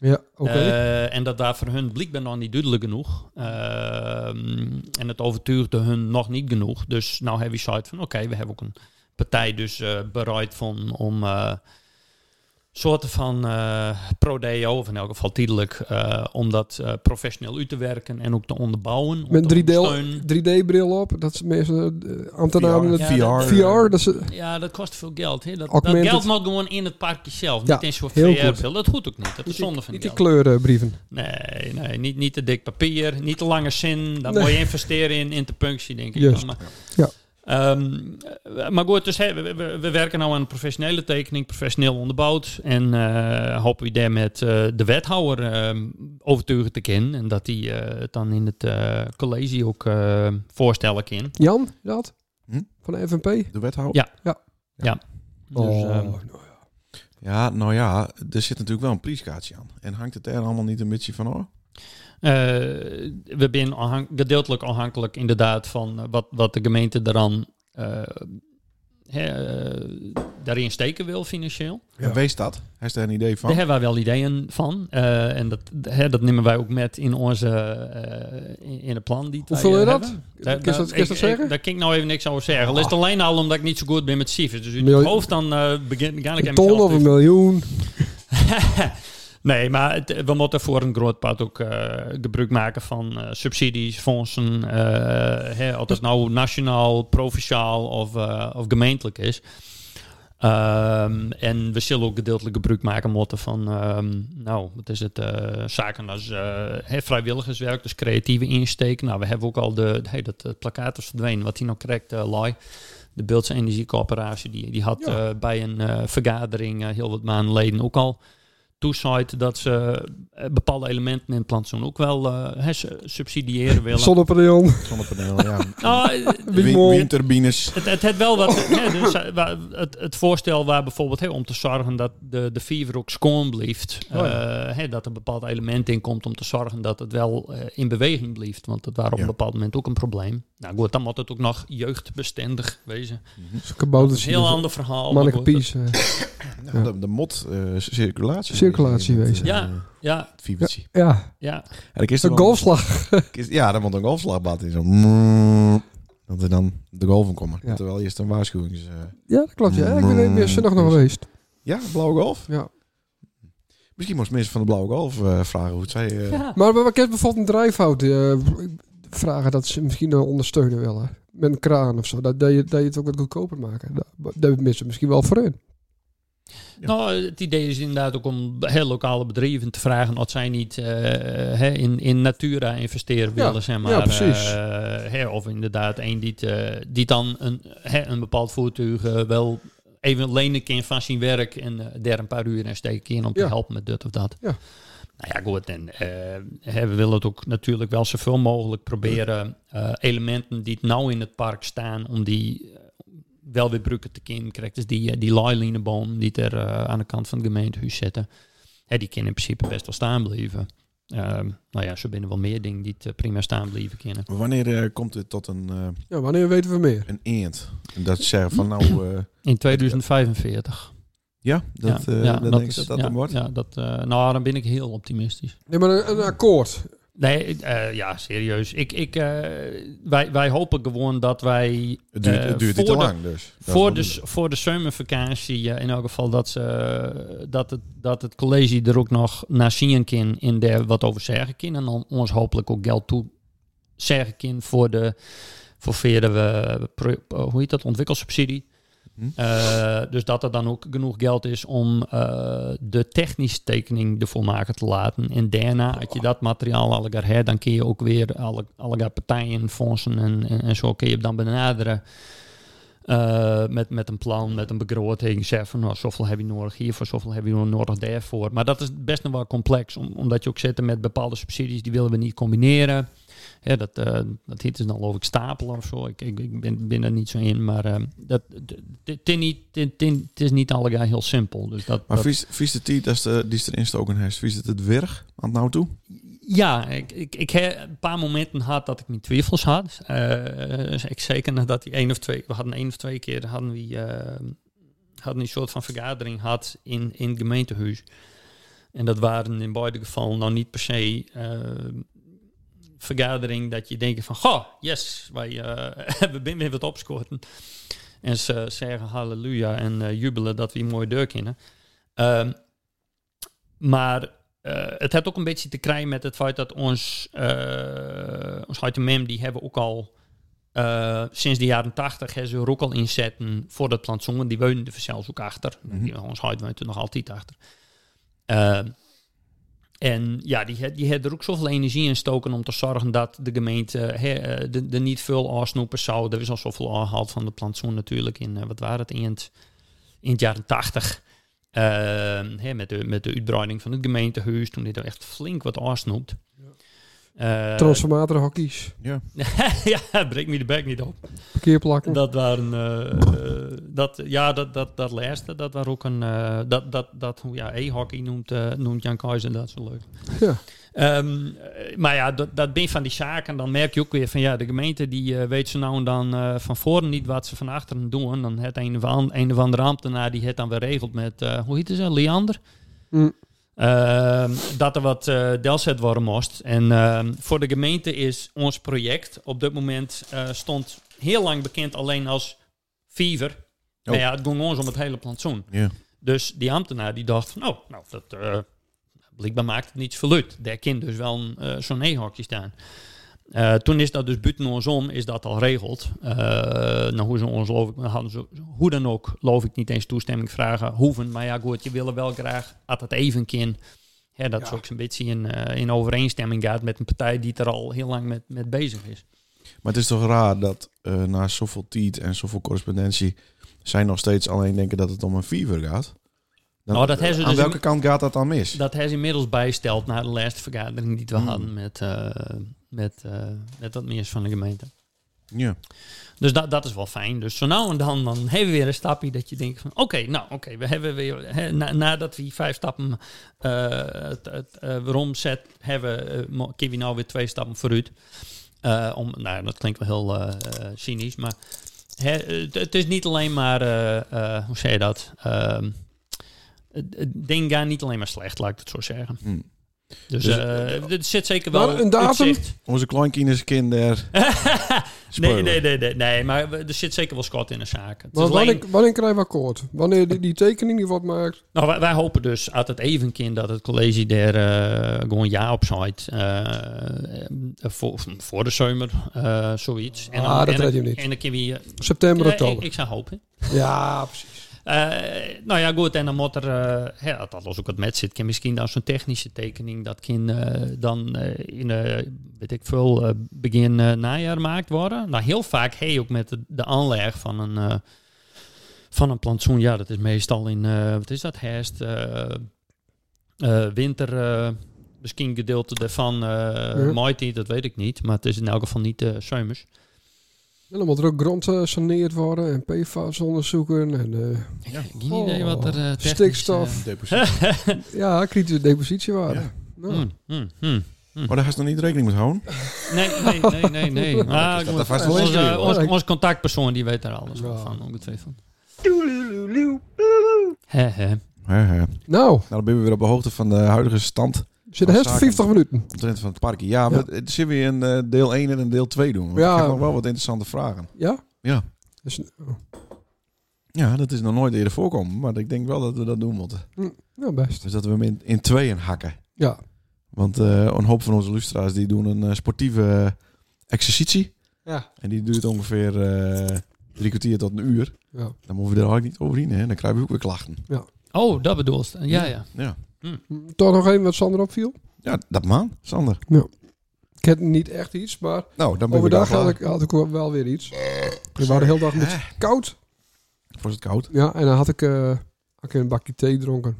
[SPEAKER 4] Ja, oké.
[SPEAKER 1] Eh, en dat daar voor hun blijkbaar nog niet duidelijk genoeg. Ehm, en het overtuigde hun nog niet genoeg. Dus nou hebben we zoiets van, oké, we hebben ook een partij dus eh, bereid van, om eh, soorten van eh pro-deo, of in elk geval tijdelijk, eh, om dat eh, professioneel uit te werken en ook te onderbouwen. om
[SPEAKER 4] Met
[SPEAKER 1] te
[SPEAKER 4] 3D
[SPEAKER 1] ondersteunen.
[SPEAKER 4] 3D-bril op. Dat is meestal eh, ambtenaren.
[SPEAKER 2] VR.
[SPEAKER 4] met
[SPEAKER 1] Ja,
[SPEAKER 2] VR.
[SPEAKER 1] dat-
[SPEAKER 4] VR, eh, dat is,
[SPEAKER 1] Ja, dat kost veel geld. Hè. Dat, dat
[SPEAKER 4] Augmented.
[SPEAKER 1] geld moet gewoon in het parkje zelf,
[SPEAKER 4] Ja,
[SPEAKER 1] niet in zo'n
[SPEAKER 4] heel goed.
[SPEAKER 1] VR-bril. Dat goed ook niet. Dat is zonde van
[SPEAKER 4] niet die
[SPEAKER 1] geld.
[SPEAKER 4] kleurenbrieven.
[SPEAKER 1] Nee, nee niet, niet te dik papier, niet te lange zin. Dan
[SPEAKER 4] Nee.
[SPEAKER 1] moet je investeren in interpunctie, denk ik. dan.
[SPEAKER 4] Juist.
[SPEAKER 1] Maar,
[SPEAKER 4] Ja.
[SPEAKER 1] Ehm, eh, maar goed, dus, hè, we, we- we werken nou aan een professionele tekening, professioneel onderbouwd. En eh, hopen we daar met eh, de wethouder eh, overtuigen te kennen. En dat hij eh, het dan in het eh, college ook eh, voorstellen kan.
[SPEAKER 4] Jan, dat?
[SPEAKER 2] Hm?
[SPEAKER 4] Van de FNP?
[SPEAKER 2] De wethouder?
[SPEAKER 1] Ja.
[SPEAKER 4] Dus,
[SPEAKER 1] Dus, ehm,
[SPEAKER 2] Ja, nou ja, er zit natuurlijk wel een prijskaartje aan. En hangt het er allemaal niet een beetje van af?
[SPEAKER 1] Eh, we zijn afhan- gedeeltelijk afhankelijk inderdaad van eh, wat, wat de gemeente daaraan, eh, hè, eh, daarin steken wil financieel.
[SPEAKER 4] Ja.
[SPEAKER 2] En wees dat? Hij is daar een idee van?
[SPEAKER 1] Daar hebben wij wel ideeën van. Eh, en dat, hè, dat nemen wij ook met in onze eh, in, in het plan. Die
[SPEAKER 4] Hoe vul
[SPEAKER 1] wij,
[SPEAKER 4] je
[SPEAKER 1] eh,
[SPEAKER 4] dat?
[SPEAKER 1] hebben.
[SPEAKER 4] Kun
[SPEAKER 1] Daar-
[SPEAKER 4] je dat-
[SPEAKER 1] daar-
[SPEAKER 4] kun je dat
[SPEAKER 1] ik-
[SPEAKER 4] zeggen? Ah.
[SPEAKER 1] ik- Daar kan ik nou even niks over zeggen. Dat is het alleen al omdat ik niet zo goed ben met cijfers. Dus in
[SPEAKER 4] Miljoen-
[SPEAKER 1] het hoofd dan eh, begin ga ik
[SPEAKER 4] Een
[SPEAKER 1] aan
[SPEAKER 4] ton
[SPEAKER 1] mezelf
[SPEAKER 4] of
[SPEAKER 1] te-
[SPEAKER 4] een miljoen.
[SPEAKER 1] nee, maar het- we moeten voor een groot part ook eh, gebruik maken van eh, subsidies, fondsen. eh hè, of dat nou nationaal, provinciaal of, eh, of gemeentelijk is. Ehm, en we zullen ook gedeeltelijk gebruik maken moeten van, ehm, nou, wat is het, eh, zaken als eh, hè, vrijwilligerswerk, dus creatieve insteek. Nou, we hebben ook al de, hey, dat eh, plakkaat is verdwenen, wat hij nou krijgt, eh Lai. De Beeldse Energiecoöperatie, die, die had
[SPEAKER 4] Ja.
[SPEAKER 1] eh, bij een eh, vergadering eh, heel wat maanden geleden ook al toezicht dat ze eh, bepaalde elementen in het plantsoen ook wel eh, hè, su- subsidiëren willen.
[SPEAKER 4] Zonnepaneel.
[SPEAKER 2] Zonnepaneel, ja.
[SPEAKER 1] Nou, eh,
[SPEAKER 2] Win-
[SPEAKER 4] Windmolen.
[SPEAKER 2] Windturbines.
[SPEAKER 1] het, het, het, wel wat, hè, dus, eh, waar- het, het voorstel waar bijvoorbeeld hè, om te zorgen dat de, de fever ook schoon blijft.
[SPEAKER 4] Oh
[SPEAKER 1] eh, hè, dat er bepaald element in komt om te zorgen dat het wel eh, in beweging blijft. Want dat was op
[SPEAKER 2] Ja.
[SPEAKER 1] een bepaald moment ook een probleem. Nou goed, dan moet het ook nog jeugdbestendig wezen. Dat is
[SPEAKER 4] Kabouter.
[SPEAKER 1] een heel ander verhaal. maar
[SPEAKER 4] dus Manneke
[SPEAKER 1] goed, dat-
[SPEAKER 4] Pies. eh.
[SPEAKER 2] Nou, de, de mot eh, circulatie.
[SPEAKER 4] Circulatiewezen.
[SPEAKER 2] Eh,
[SPEAKER 1] Ja. Ja,
[SPEAKER 2] het Fietsje.
[SPEAKER 4] Ja,
[SPEAKER 1] ja.
[SPEAKER 2] En ik is er
[SPEAKER 4] een
[SPEAKER 2] wel-
[SPEAKER 4] golfslag.
[SPEAKER 2] Is- Ja, dan moet een golfslagbad in. Zo. Mm. Dat er dan de golven komen.
[SPEAKER 4] Ja.
[SPEAKER 2] Terwijl eerst een waarschuwing is. eh,
[SPEAKER 4] Ja, dat klopt. Ja. Ik ben er weer zondag
[SPEAKER 2] Mm.
[SPEAKER 4] nog geweest.
[SPEAKER 2] ja, blauwe golf.
[SPEAKER 4] Ja.
[SPEAKER 2] Misschien moest mensen van de blauwe golf eh, vragen hoe het zij... eh,
[SPEAKER 1] ja.
[SPEAKER 4] Maar wat ik heb bijvoorbeeld een drijfhout eh, vragen dat ze misschien wel ondersteunen willen. Met een kraan of zo. Dat, dat, je, dat je het ook wat goedkoper maken. Dat, dat missen misschien wel voor hun.
[SPEAKER 2] Ja.
[SPEAKER 1] Nou, het idee is inderdaad ook om heel lokale bedrijven te vragen of zij niet eh, hè, in, in Natura investeren
[SPEAKER 4] Ja,
[SPEAKER 1] willen, zeg maar.
[SPEAKER 4] ja, precies.
[SPEAKER 1] Eh, hè, of inderdaad een die, het, eh, die dan een, hè, een bepaald voertuig eh, wel even lenen kan van zijn werk en eh, daar een paar uur in steken in om te
[SPEAKER 4] Ja.
[SPEAKER 1] helpen met dit of dat.
[SPEAKER 4] Ja.
[SPEAKER 1] Nou ja, goed. En eh, hè, we willen het ook natuurlijk wel zoveel mogelijk proberen eh, elementen die het nou in het park staan, om die eh, wel weer brukken te kind krijgt. Dus die, eh, die lailineboom die er eh, aan de kant van het gemeentehuis zitten. Hè, die kunnen in principe best wel staan blijven. Ehm, nou ja, zo binnen wel meer dingen die het, eh, prima staan blijven kunnen.
[SPEAKER 2] Wanneer eh, komt dit tot een, eh
[SPEAKER 4] Ja, wanneer weten we meer?
[SPEAKER 2] een eend? En Dat zeggen van nou... eh,
[SPEAKER 1] In 2045.
[SPEAKER 2] ja, dat,
[SPEAKER 1] ja,
[SPEAKER 2] eh,
[SPEAKER 1] ja,
[SPEAKER 2] dat denk ik
[SPEAKER 1] is-
[SPEAKER 2] dat dat
[SPEAKER 1] ja,
[SPEAKER 2] hem wordt.
[SPEAKER 1] Ja, dat, eh, nou, dan ben ik heel optimistisch.
[SPEAKER 4] Nee, maar een, een akkoord.
[SPEAKER 1] Nee, eh, ja, serieus. Ik, ik, eh, wij, wij hopen gewoon dat wij...
[SPEAKER 2] Het duurt,
[SPEAKER 1] eh,
[SPEAKER 2] het duurt niet te
[SPEAKER 1] voor de-
[SPEAKER 2] lang dus. Dat is wel
[SPEAKER 1] Voor de,
[SPEAKER 2] duidelijk.
[SPEAKER 1] voor de zomervakantie, eh, in elk geval dat, ze, eh, dat, het, dat het college er ook nog naar zien kan in der wat over zeggen kan. En dan ons hopelijk ook geld toe zeggen kan voor de voor verder we, pro- eh, hoe heet dat, ontwikkelsubsidie.
[SPEAKER 2] Hm.
[SPEAKER 1] Eh, dus dat er dan ook genoeg geld is om eh, de technische tekening ervoor maken te laten. En daarna, als je dat materiaal alle keer hebt, dan kun je ook weer alle, alle keer partijen, fondsen en, en, en zo kun je het dan benaderen. Eh, met, met een plan, met een begroting. Zeg van nou, zoveel heb je nodig hiervoor, zoveel heb je nodig daarvoor. Maar dat is best nog wel complex, om- omdat je ook zit met bepaalde subsidies, die willen we niet combineren. hè, dat, eh dat heet dus dan geloof ik stapelen of zo. Ik, ik, ik ben, ben er niet zo in, maar ehm, dat het is niet, dit- dit- het is niet allegaar heel simpel. Dus dat,
[SPEAKER 2] Maar
[SPEAKER 1] dat-
[SPEAKER 2] vies, vies de tiet, dat is de, die is erin stoken heeft, vies het het werg aan het nou toe?
[SPEAKER 1] Ja, ik, ik, ik heb een paar momenten gehad dat ik mijn twijfels had. Eh, ik zeker nadat die één of twee, we hadden één of twee keer hadden we, eh, hadden een soort van vergadering gehad in, in het gemeentehuis. En dat waren in beide gevallen nou niet per se eh, vergadering dat je denkt van, goh, yes, wij eh, we zijn weer wat opscorten. En ze zeggen halleluja en eh, jubelen dat we een mooie deur kennen. Ehm, maar eh, het heeft ook een beetje te krijgen met het feit dat ons, eh ons Huid en Mem, die hebben ook al eh, sinds de jaren tachtig hebben ze er ook al inzetten voor dat plantsoen. Die weunen er zelfs ook achter.
[SPEAKER 2] Mhm.
[SPEAKER 1] Die- Ons huid woont er nog altijd achter. Ehm, en ja, die had, die had er ook zoveel energie in stoken om te zorgen dat de gemeente hè, eh, de, de niet veel aansnoepen zou. Er is al zoveel aangehaald van de plantsoen natuurlijk in, eh, wat waren het, eind, eind jaren tachtig. hè, met, de, met de uitbreiding van het gemeentehuis, toen dit er echt flink wat aansnoept. Eh,
[SPEAKER 4] Transformator hockeys.
[SPEAKER 2] Ja.
[SPEAKER 1] ja, breek me de bek niet op.
[SPEAKER 4] Parkeerplakken.
[SPEAKER 1] Dat waren, eh, eh, dat, ja, dat, dat, dat laatste, dat was ook een, eh, dat, dat, dat, hoe ja, e-hockey noemt, eh, noemt Jan Kaiser dat zo leuk.
[SPEAKER 4] Ja.
[SPEAKER 1] Ehm, eh, maar ja, dat, dat ben van die zaken. Dan merk je ook weer van ja, de gemeente die eh, weet zo nou en dan eh, van voren niet wat ze van achteren doen. Dan het een of, an, een of andere ambtenaar die het dan weer regelt met, eh, hoe heet ze, Leander?
[SPEAKER 4] Mm.
[SPEAKER 1] Ehm, dat er wat eh delzet worden moest. En ehm, voor de gemeente is ons project op dit moment eh, stond heel lang bekend alleen als Fever. Nou ja, het ging ons om het hele plantsoen.
[SPEAKER 2] Ja.
[SPEAKER 1] Dus die ambtenaar die dacht van, oh, nou, dat eh blijkbaar maakt het niets verluid. Daar kan dus wel een, eh, zo'n e-hokje staan. Eh, toen is dat dus buiten ons om, is dat al regeld. Eh, nou, hoe ze ons, geloof ik, hadden ze hoe dan ook, geloof ik, niet eens toestemming vragen hoeven. Maar ja, goed, je willen wel graag, had het even kind. Ja, dat is ook een beetje in, eh, in overeenstemming gaat met een partij die het er al heel lang met, met bezig is.
[SPEAKER 2] Maar het is toch raar dat eh, na zoveel tiet en zoveel correspondentie... zij nog steeds alleen denken dat het om een fever gaat. Dan-
[SPEAKER 1] Nou, dat hebben ze
[SPEAKER 2] aan
[SPEAKER 1] dus
[SPEAKER 2] welke
[SPEAKER 1] in-
[SPEAKER 2] kant gaat dat dan mis?
[SPEAKER 1] Dat hij is inmiddels bijstelt na de laatste vergadering die we hadden met, eh, met, eh, met wat meer van de gemeente.
[SPEAKER 2] Ja.
[SPEAKER 1] Dus dat, dat is wel fijn. Dus zo nou en dan, dan hebben we weer een stapje dat je denkt van... Oké, nou oké, we hebben weer... Hè, na- nadat we vijf stappen eh het, het, eh, weer omzet hebben... eh, mo- kunnen we nou weer twee stappen vooruit. Eh, om, nou, dat klinkt wel heel eh, eh, cynisch, maar... hè, het, het is niet alleen maar... eh, eh, hoe zeg je dat? Ehm, het, het ding gaat niet alleen maar slecht, laat ik het zo zeggen.
[SPEAKER 2] Hm.
[SPEAKER 1] Dus,
[SPEAKER 2] Dus,
[SPEAKER 1] eh, er zit zeker wel
[SPEAKER 4] Maar Nou, een datum?
[SPEAKER 1] uitzicht.
[SPEAKER 2] Onze kleinkinderskinder...
[SPEAKER 1] Nee,
[SPEAKER 2] speulen.
[SPEAKER 1] nee, nee, nee, nee, maar we- er zit zeker wel schot in de zaak. Het is
[SPEAKER 4] Maar
[SPEAKER 1] alleen-
[SPEAKER 4] wanneer, wanneer krijgen we akkoord? Wanneer die, die tekening die wordt maakt?
[SPEAKER 1] nou, wij, wij hopen dus uit het evenkind dat het college daar eh, gewoon ja op zaait. eh, eh, voor, voor de zomer, eh, zoiets. En
[SPEAKER 4] Ah, dat
[SPEAKER 1] en,
[SPEAKER 4] red je hem niet.
[SPEAKER 1] En dan kun je... eh,
[SPEAKER 4] September,
[SPEAKER 1] ja, ik,
[SPEAKER 4] oktober.
[SPEAKER 1] ik zou hopen.
[SPEAKER 4] Ja, precies.
[SPEAKER 1] Eh, nou ja, goed. En dan moet er, eh, hè, dat als ook wat met zit, kan misschien dan zo'n technische tekening dat kan eh, dan eh, in, eh, weet ik veel, eh, begin eh, najaar gemaakt worden. Nou, heel vaak hey, ook met de, de aanleg van een, eh, van een plantsoen. Ja, dat is meestal in, eh, wat is dat, herfst, eh, eh, winter, eh, misschien gedeelte daarvan, eh maaitijd, dat weet ik niet. Maar het is in elk geval niet eh zomers.
[SPEAKER 4] En dan moet er ook grond eh, saneerd worden en PFAS onderzoeken. En, eh,
[SPEAKER 1] Geen idee wat er eh, technisch,
[SPEAKER 4] stikstof.
[SPEAKER 2] Depressie.
[SPEAKER 4] ja, kritische depositiewaarde.
[SPEAKER 1] eh,
[SPEAKER 2] Ja.
[SPEAKER 4] Nou,
[SPEAKER 1] hmm, hmm, hmm.
[SPEAKER 2] Maar daar gaat ze nog niet rekening mee houden.
[SPEAKER 1] Nee, nee, nee, nee. nee. Ah,
[SPEAKER 2] dat
[SPEAKER 1] goed.
[SPEAKER 2] er vast wel
[SPEAKER 1] onze,
[SPEAKER 2] ingewikkeld,
[SPEAKER 1] onze-
[SPEAKER 4] hoor.
[SPEAKER 1] onze contactpersoon die weet daar alles
[SPEAKER 4] Ja.
[SPEAKER 1] van, ongetwijfeld. Hè, hè.
[SPEAKER 2] Hè, hè. Nou,
[SPEAKER 4] nou
[SPEAKER 2] dan ben je weer op de hoogte van de huidige stand
[SPEAKER 4] we zitten
[SPEAKER 2] Van
[SPEAKER 4] het
[SPEAKER 2] zaken.
[SPEAKER 4] 50 minuten.
[SPEAKER 2] omtrent van het parkje. Ja, maar het zullen we in eh, deel 1 en een deel 2 doen? Want
[SPEAKER 4] Ja.
[SPEAKER 2] ik heb nog wel wat interessante vragen.
[SPEAKER 4] Ja?
[SPEAKER 2] Ja.
[SPEAKER 4] Dus, oh,
[SPEAKER 2] Ja, dat is nog nooit eerder voorkomen. Maar ik denk wel dat we dat doen moeten.
[SPEAKER 4] nou, best.
[SPEAKER 2] Dus dat we hem in, in tweeën hakken.
[SPEAKER 4] Ja.
[SPEAKER 2] Want eh, een hoop van onze lustra's die doen een eh, sportieve eh, exercitie.
[SPEAKER 4] Ja.
[SPEAKER 2] En die duurt ongeveer eh, drie kwartier tot een uur.
[SPEAKER 4] Ja.
[SPEAKER 2] Dan moeten we er eigenlijk niet overheen. Hè? Dan krijgen we ook weer klachten.
[SPEAKER 1] Oh, dat bedoelt. Ja, ja.
[SPEAKER 2] Ja,
[SPEAKER 4] Hm, Toch nog één wat Sander opviel.
[SPEAKER 2] ja dat man, Sander.
[SPEAKER 4] Ik heb niet echt iets, maar
[SPEAKER 2] Nou, dan ben ik Eh,
[SPEAKER 4] overdag
[SPEAKER 2] daar
[SPEAKER 4] had
[SPEAKER 2] klaar.
[SPEAKER 4] ik, had ik wel weer iets. We waren de hele dag een beetje koud.
[SPEAKER 2] Was het koud?
[SPEAKER 4] Ja, en dan had ik, eh, had ik een bakje thee gedronken.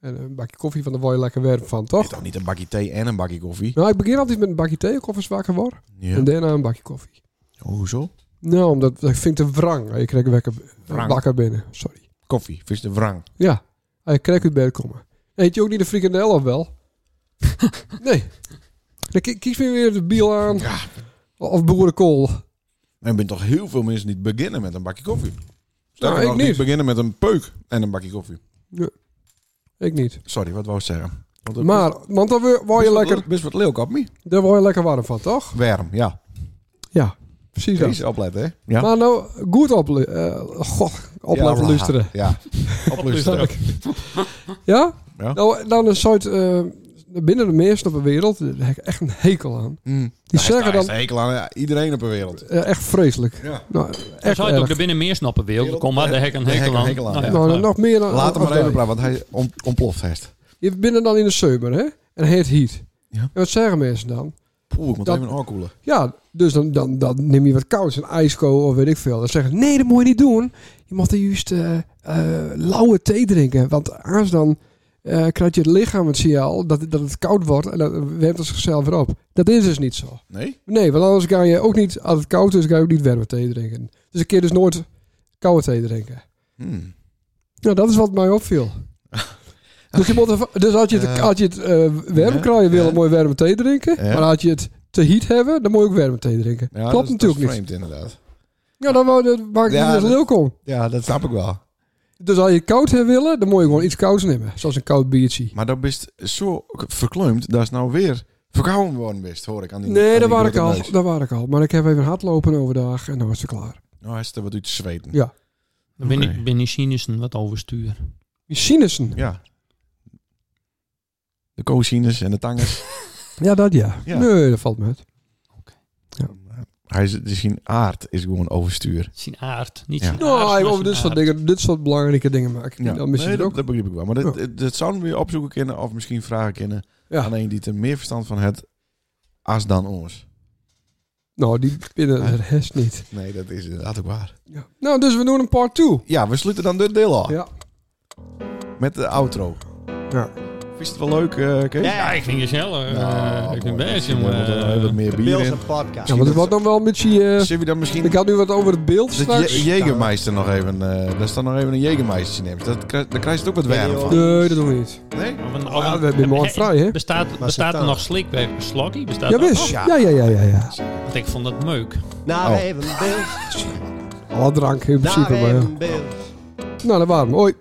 [SPEAKER 4] En En een bakje koffie van de word je lekker warm van, toch?
[SPEAKER 2] Eet ook niet een bakje thee en een bakje koffie.
[SPEAKER 4] Nou, ik begin altijd met een bakje thee, of als wakker word.
[SPEAKER 2] Ja.
[SPEAKER 4] En daarna een bakje koffie.
[SPEAKER 2] Oh, hoezo?
[SPEAKER 4] Nou, omdat dat vind ik te wrang. Je krijgt wekker,
[SPEAKER 2] Wrang.
[SPEAKER 4] wakker binnen, sorry.
[SPEAKER 2] Koffie, vis de wrang.
[SPEAKER 4] Ja, je krijgt uit bed komen. Eet je ook niet de frikandel of wel? nee. Dan ki- kies me weer de biel aan.
[SPEAKER 2] Ja.
[SPEAKER 4] Of boerenkool.
[SPEAKER 2] En er zijn toch heel veel mensen die beginnen met een bakje koffie.
[SPEAKER 4] Nou,
[SPEAKER 2] Sterker
[SPEAKER 4] ik
[SPEAKER 2] nog, die
[SPEAKER 4] niet.
[SPEAKER 2] beginnen met een peuk en een bakje koffie.
[SPEAKER 4] Ik niet.
[SPEAKER 2] Sorry, wat wou ik zeggen? Want het
[SPEAKER 4] Maar, want dan wo- word
[SPEAKER 2] best
[SPEAKER 4] je
[SPEAKER 2] wat-
[SPEAKER 4] lekker,
[SPEAKER 2] Best wat leuk op me.
[SPEAKER 4] daar word je lekker warm van, toch?
[SPEAKER 2] Warm, ja.
[SPEAKER 4] Ja, precies dat.
[SPEAKER 2] Precies, opletten, hè? Ja.
[SPEAKER 4] Maar nou, goed op, eh goh, op
[SPEAKER 2] Ja,
[SPEAKER 4] laten
[SPEAKER 2] voilà.
[SPEAKER 4] luisteren.
[SPEAKER 2] Ja, op luisteren.
[SPEAKER 4] Ja?
[SPEAKER 2] Ja.
[SPEAKER 4] Nou, dan een soort... eh, binnen de meesten op de wereld, daar heb ik echt een hekel aan.
[SPEAKER 2] Mm. Hij
[SPEAKER 4] Die zeggen
[SPEAKER 2] is- hij is
[SPEAKER 4] dan
[SPEAKER 2] de hekel aan eh, iedereen op de wereld.
[SPEAKER 4] eh, echt vreselijk.
[SPEAKER 2] Ja.
[SPEAKER 4] Nou,
[SPEAKER 1] Hij
[SPEAKER 4] echt
[SPEAKER 1] zou het ook
[SPEAKER 4] erg.
[SPEAKER 1] er binnen meer snappen wil. Kom maar, daar hek een
[SPEAKER 2] Daar hek een
[SPEAKER 1] hekel aan.
[SPEAKER 2] hekel aan,
[SPEAKER 1] Nou ja,
[SPEAKER 2] ja.
[SPEAKER 4] Nou,
[SPEAKER 1] maar-
[SPEAKER 4] nog meer dan...
[SPEAKER 2] Laat hem
[SPEAKER 4] als
[SPEAKER 2] maar even
[SPEAKER 4] wij.
[SPEAKER 2] praten, want hij on- ontploft heeft.
[SPEAKER 4] Je bent dan in de summer, hè? En heet heat.
[SPEAKER 2] Ja.
[SPEAKER 4] En wat zeggen mensen dan?
[SPEAKER 2] Poeh, ik moet
[SPEAKER 4] Dat-
[SPEAKER 2] even aankoelen.
[SPEAKER 4] Ja, dus dan, dan, dan neem je wat kouds, een ijsko of weet ik veel. Dan zeggen ze, nee, dat moet je niet doen. Je mag er juist eh, eh, lauwe thee drinken. Want anders dan eh krijgt je het lichaam het signaal dat, dat het koud wordt. En dan werpt het zichzelf weer op. Dat is dus niet zo.
[SPEAKER 2] Nee?
[SPEAKER 4] Nee, want anders kan je ook niet, als het koud is, kan je ook niet warme thee drinken. Dus ik keer dus nooit koude thee drinken.
[SPEAKER 2] Hmm.
[SPEAKER 4] Nou, dat is wat mij opviel. Dus, je moet even- dus als je het,
[SPEAKER 2] Eh.
[SPEAKER 4] als je het eh, warm
[SPEAKER 2] Ja,
[SPEAKER 4] krijgen wil,
[SPEAKER 2] ja.
[SPEAKER 4] dan moet je warme thee drinken.
[SPEAKER 2] Ja.
[SPEAKER 4] Maar als je het te heat hebben, dan moet je ook warme thee drinken.
[SPEAKER 2] Ja, dat
[SPEAKER 4] Klopt
[SPEAKER 2] is-
[SPEAKER 4] natuurlijk
[SPEAKER 2] dat is
[SPEAKER 4] niet.
[SPEAKER 2] vreemd, inderdaad.
[SPEAKER 4] Ja, dan wou- dat maakt
[SPEAKER 2] Ja,
[SPEAKER 4] het niet
[SPEAKER 2] dat-
[SPEAKER 4] leuk om.
[SPEAKER 2] Ja, dat snap ik wel.
[SPEAKER 4] Dus als je het koud hebben willen, dan moet je gewoon iets kouds nemen. Zoals een koud biertje.
[SPEAKER 2] Maar dat bist zo verkleumd, dat is nou weer verkouden worden best, hoor ik aan die
[SPEAKER 4] Nee,
[SPEAKER 2] aan
[SPEAKER 4] daar
[SPEAKER 2] die
[SPEAKER 4] was ik
[SPEAKER 2] grote
[SPEAKER 4] al.
[SPEAKER 2] neus.
[SPEAKER 4] Daar was ik al. Maar ik heb even hardlopen overdag en dan was het klaar.
[SPEAKER 2] Nou, hij is er wat uit te zweten.
[SPEAKER 4] Ja.
[SPEAKER 1] Dan ben
[SPEAKER 2] Oké.
[SPEAKER 1] ik ben die Sinussen wat overstuur.
[SPEAKER 4] Die sinussen.
[SPEAKER 2] Ja. De cosinus en de tangens.
[SPEAKER 4] Ja, dat ja.
[SPEAKER 2] Ja.
[SPEAKER 4] Nee, dat valt me uit.
[SPEAKER 2] hij is, dus zijn aard is gewoon overstuur.
[SPEAKER 1] Zijn aard. Niet
[SPEAKER 2] Ja.
[SPEAKER 1] zijn aard,
[SPEAKER 4] Nou,
[SPEAKER 1] maar
[SPEAKER 4] over
[SPEAKER 1] zijn
[SPEAKER 4] dit soort,
[SPEAKER 1] aard.
[SPEAKER 4] dingen, dit soort belangrijke dingen maak ik.
[SPEAKER 2] Ja.
[SPEAKER 4] Dan mis je
[SPEAKER 2] Nee,
[SPEAKER 4] het
[SPEAKER 2] dat,
[SPEAKER 4] ook.
[SPEAKER 2] dat begrijp ik wel. Maar dat,
[SPEAKER 4] Ja.
[SPEAKER 2] dat, dat zouden we opzoeken kunnen of misschien vragen kunnen
[SPEAKER 4] Ja.
[SPEAKER 2] aan een die er meer verstand van heeft als dan ons.
[SPEAKER 4] Nou, die binnen
[SPEAKER 2] Nee.
[SPEAKER 4] de rest niet.
[SPEAKER 2] Nee, dat is inderdaad ook waar.
[SPEAKER 4] Ja. Nou, dus we doen een part 2.
[SPEAKER 2] Ja, we sluiten dan dit deel af
[SPEAKER 4] Ja.
[SPEAKER 2] met de outro.
[SPEAKER 4] Ja.
[SPEAKER 2] Vind je het wel leuk, eh Kees?
[SPEAKER 1] Ja, ik vind je snel. eh,
[SPEAKER 2] Nou,
[SPEAKER 1] ik
[SPEAKER 2] mooi.
[SPEAKER 1] vind best,
[SPEAKER 2] Misschien, eh, moeten we
[SPEAKER 1] jongen.
[SPEAKER 2] Wat meer bier
[SPEAKER 3] Bills
[SPEAKER 2] in.
[SPEAKER 3] een podcast.
[SPEAKER 4] ja, want het wordt dan wel een beetje... eh,
[SPEAKER 2] Zullen we dan misschien...
[SPEAKER 4] ik had nu wat over het beeld
[SPEAKER 2] Dat
[SPEAKER 4] straks.
[SPEAKER 2] je, Jägermeister nog even, eh daar staat nog even een Jägermeister neemt. Dat, krijg- daar krijg je het ook wat
[SPEAKER 3] Nee,
[SPEAKER 2] warm
[SPEAKER 3] joh.
[SPEAKER 2] van.
[SPEAKER 4] Nee, dat doen we niet.
[SPEAKER 2] Nee?
[SPEAKER 1] Of een- of
[SPEAKER 4] ja,
[SPEAKER 1] een-
[SPEAKER 4] we hebben morgen vrij, hè?
[SPEAKER 1] Bestaat, bestaat er
[SPEAKER 3] dan?
[SPEAKER 1] nog slik bij Slokkie? Bestaat
[SPEAKER 4] Ja,
[SPEAKER 1] dat
[SPEAKER 4] wist.
[SPEAKER 1] nog?
[SPEAKER 4] Ja, ja, ja, ja. ja.
[SPEAKER 1] Want ik vond dat meuk.
[SPEAKER 3] Naar
[SPEAKER 2] Oh.
[SPEAKER 3] even Bills.
[SPEAKER 4] Alle drank in
[SPEAKER 3] Naar
[SPEAKER 4] principe. Maar, ja.
[SPEAKER 3] even Bills.
[SPEAKER 4] Nou, dat waren we. Hoi.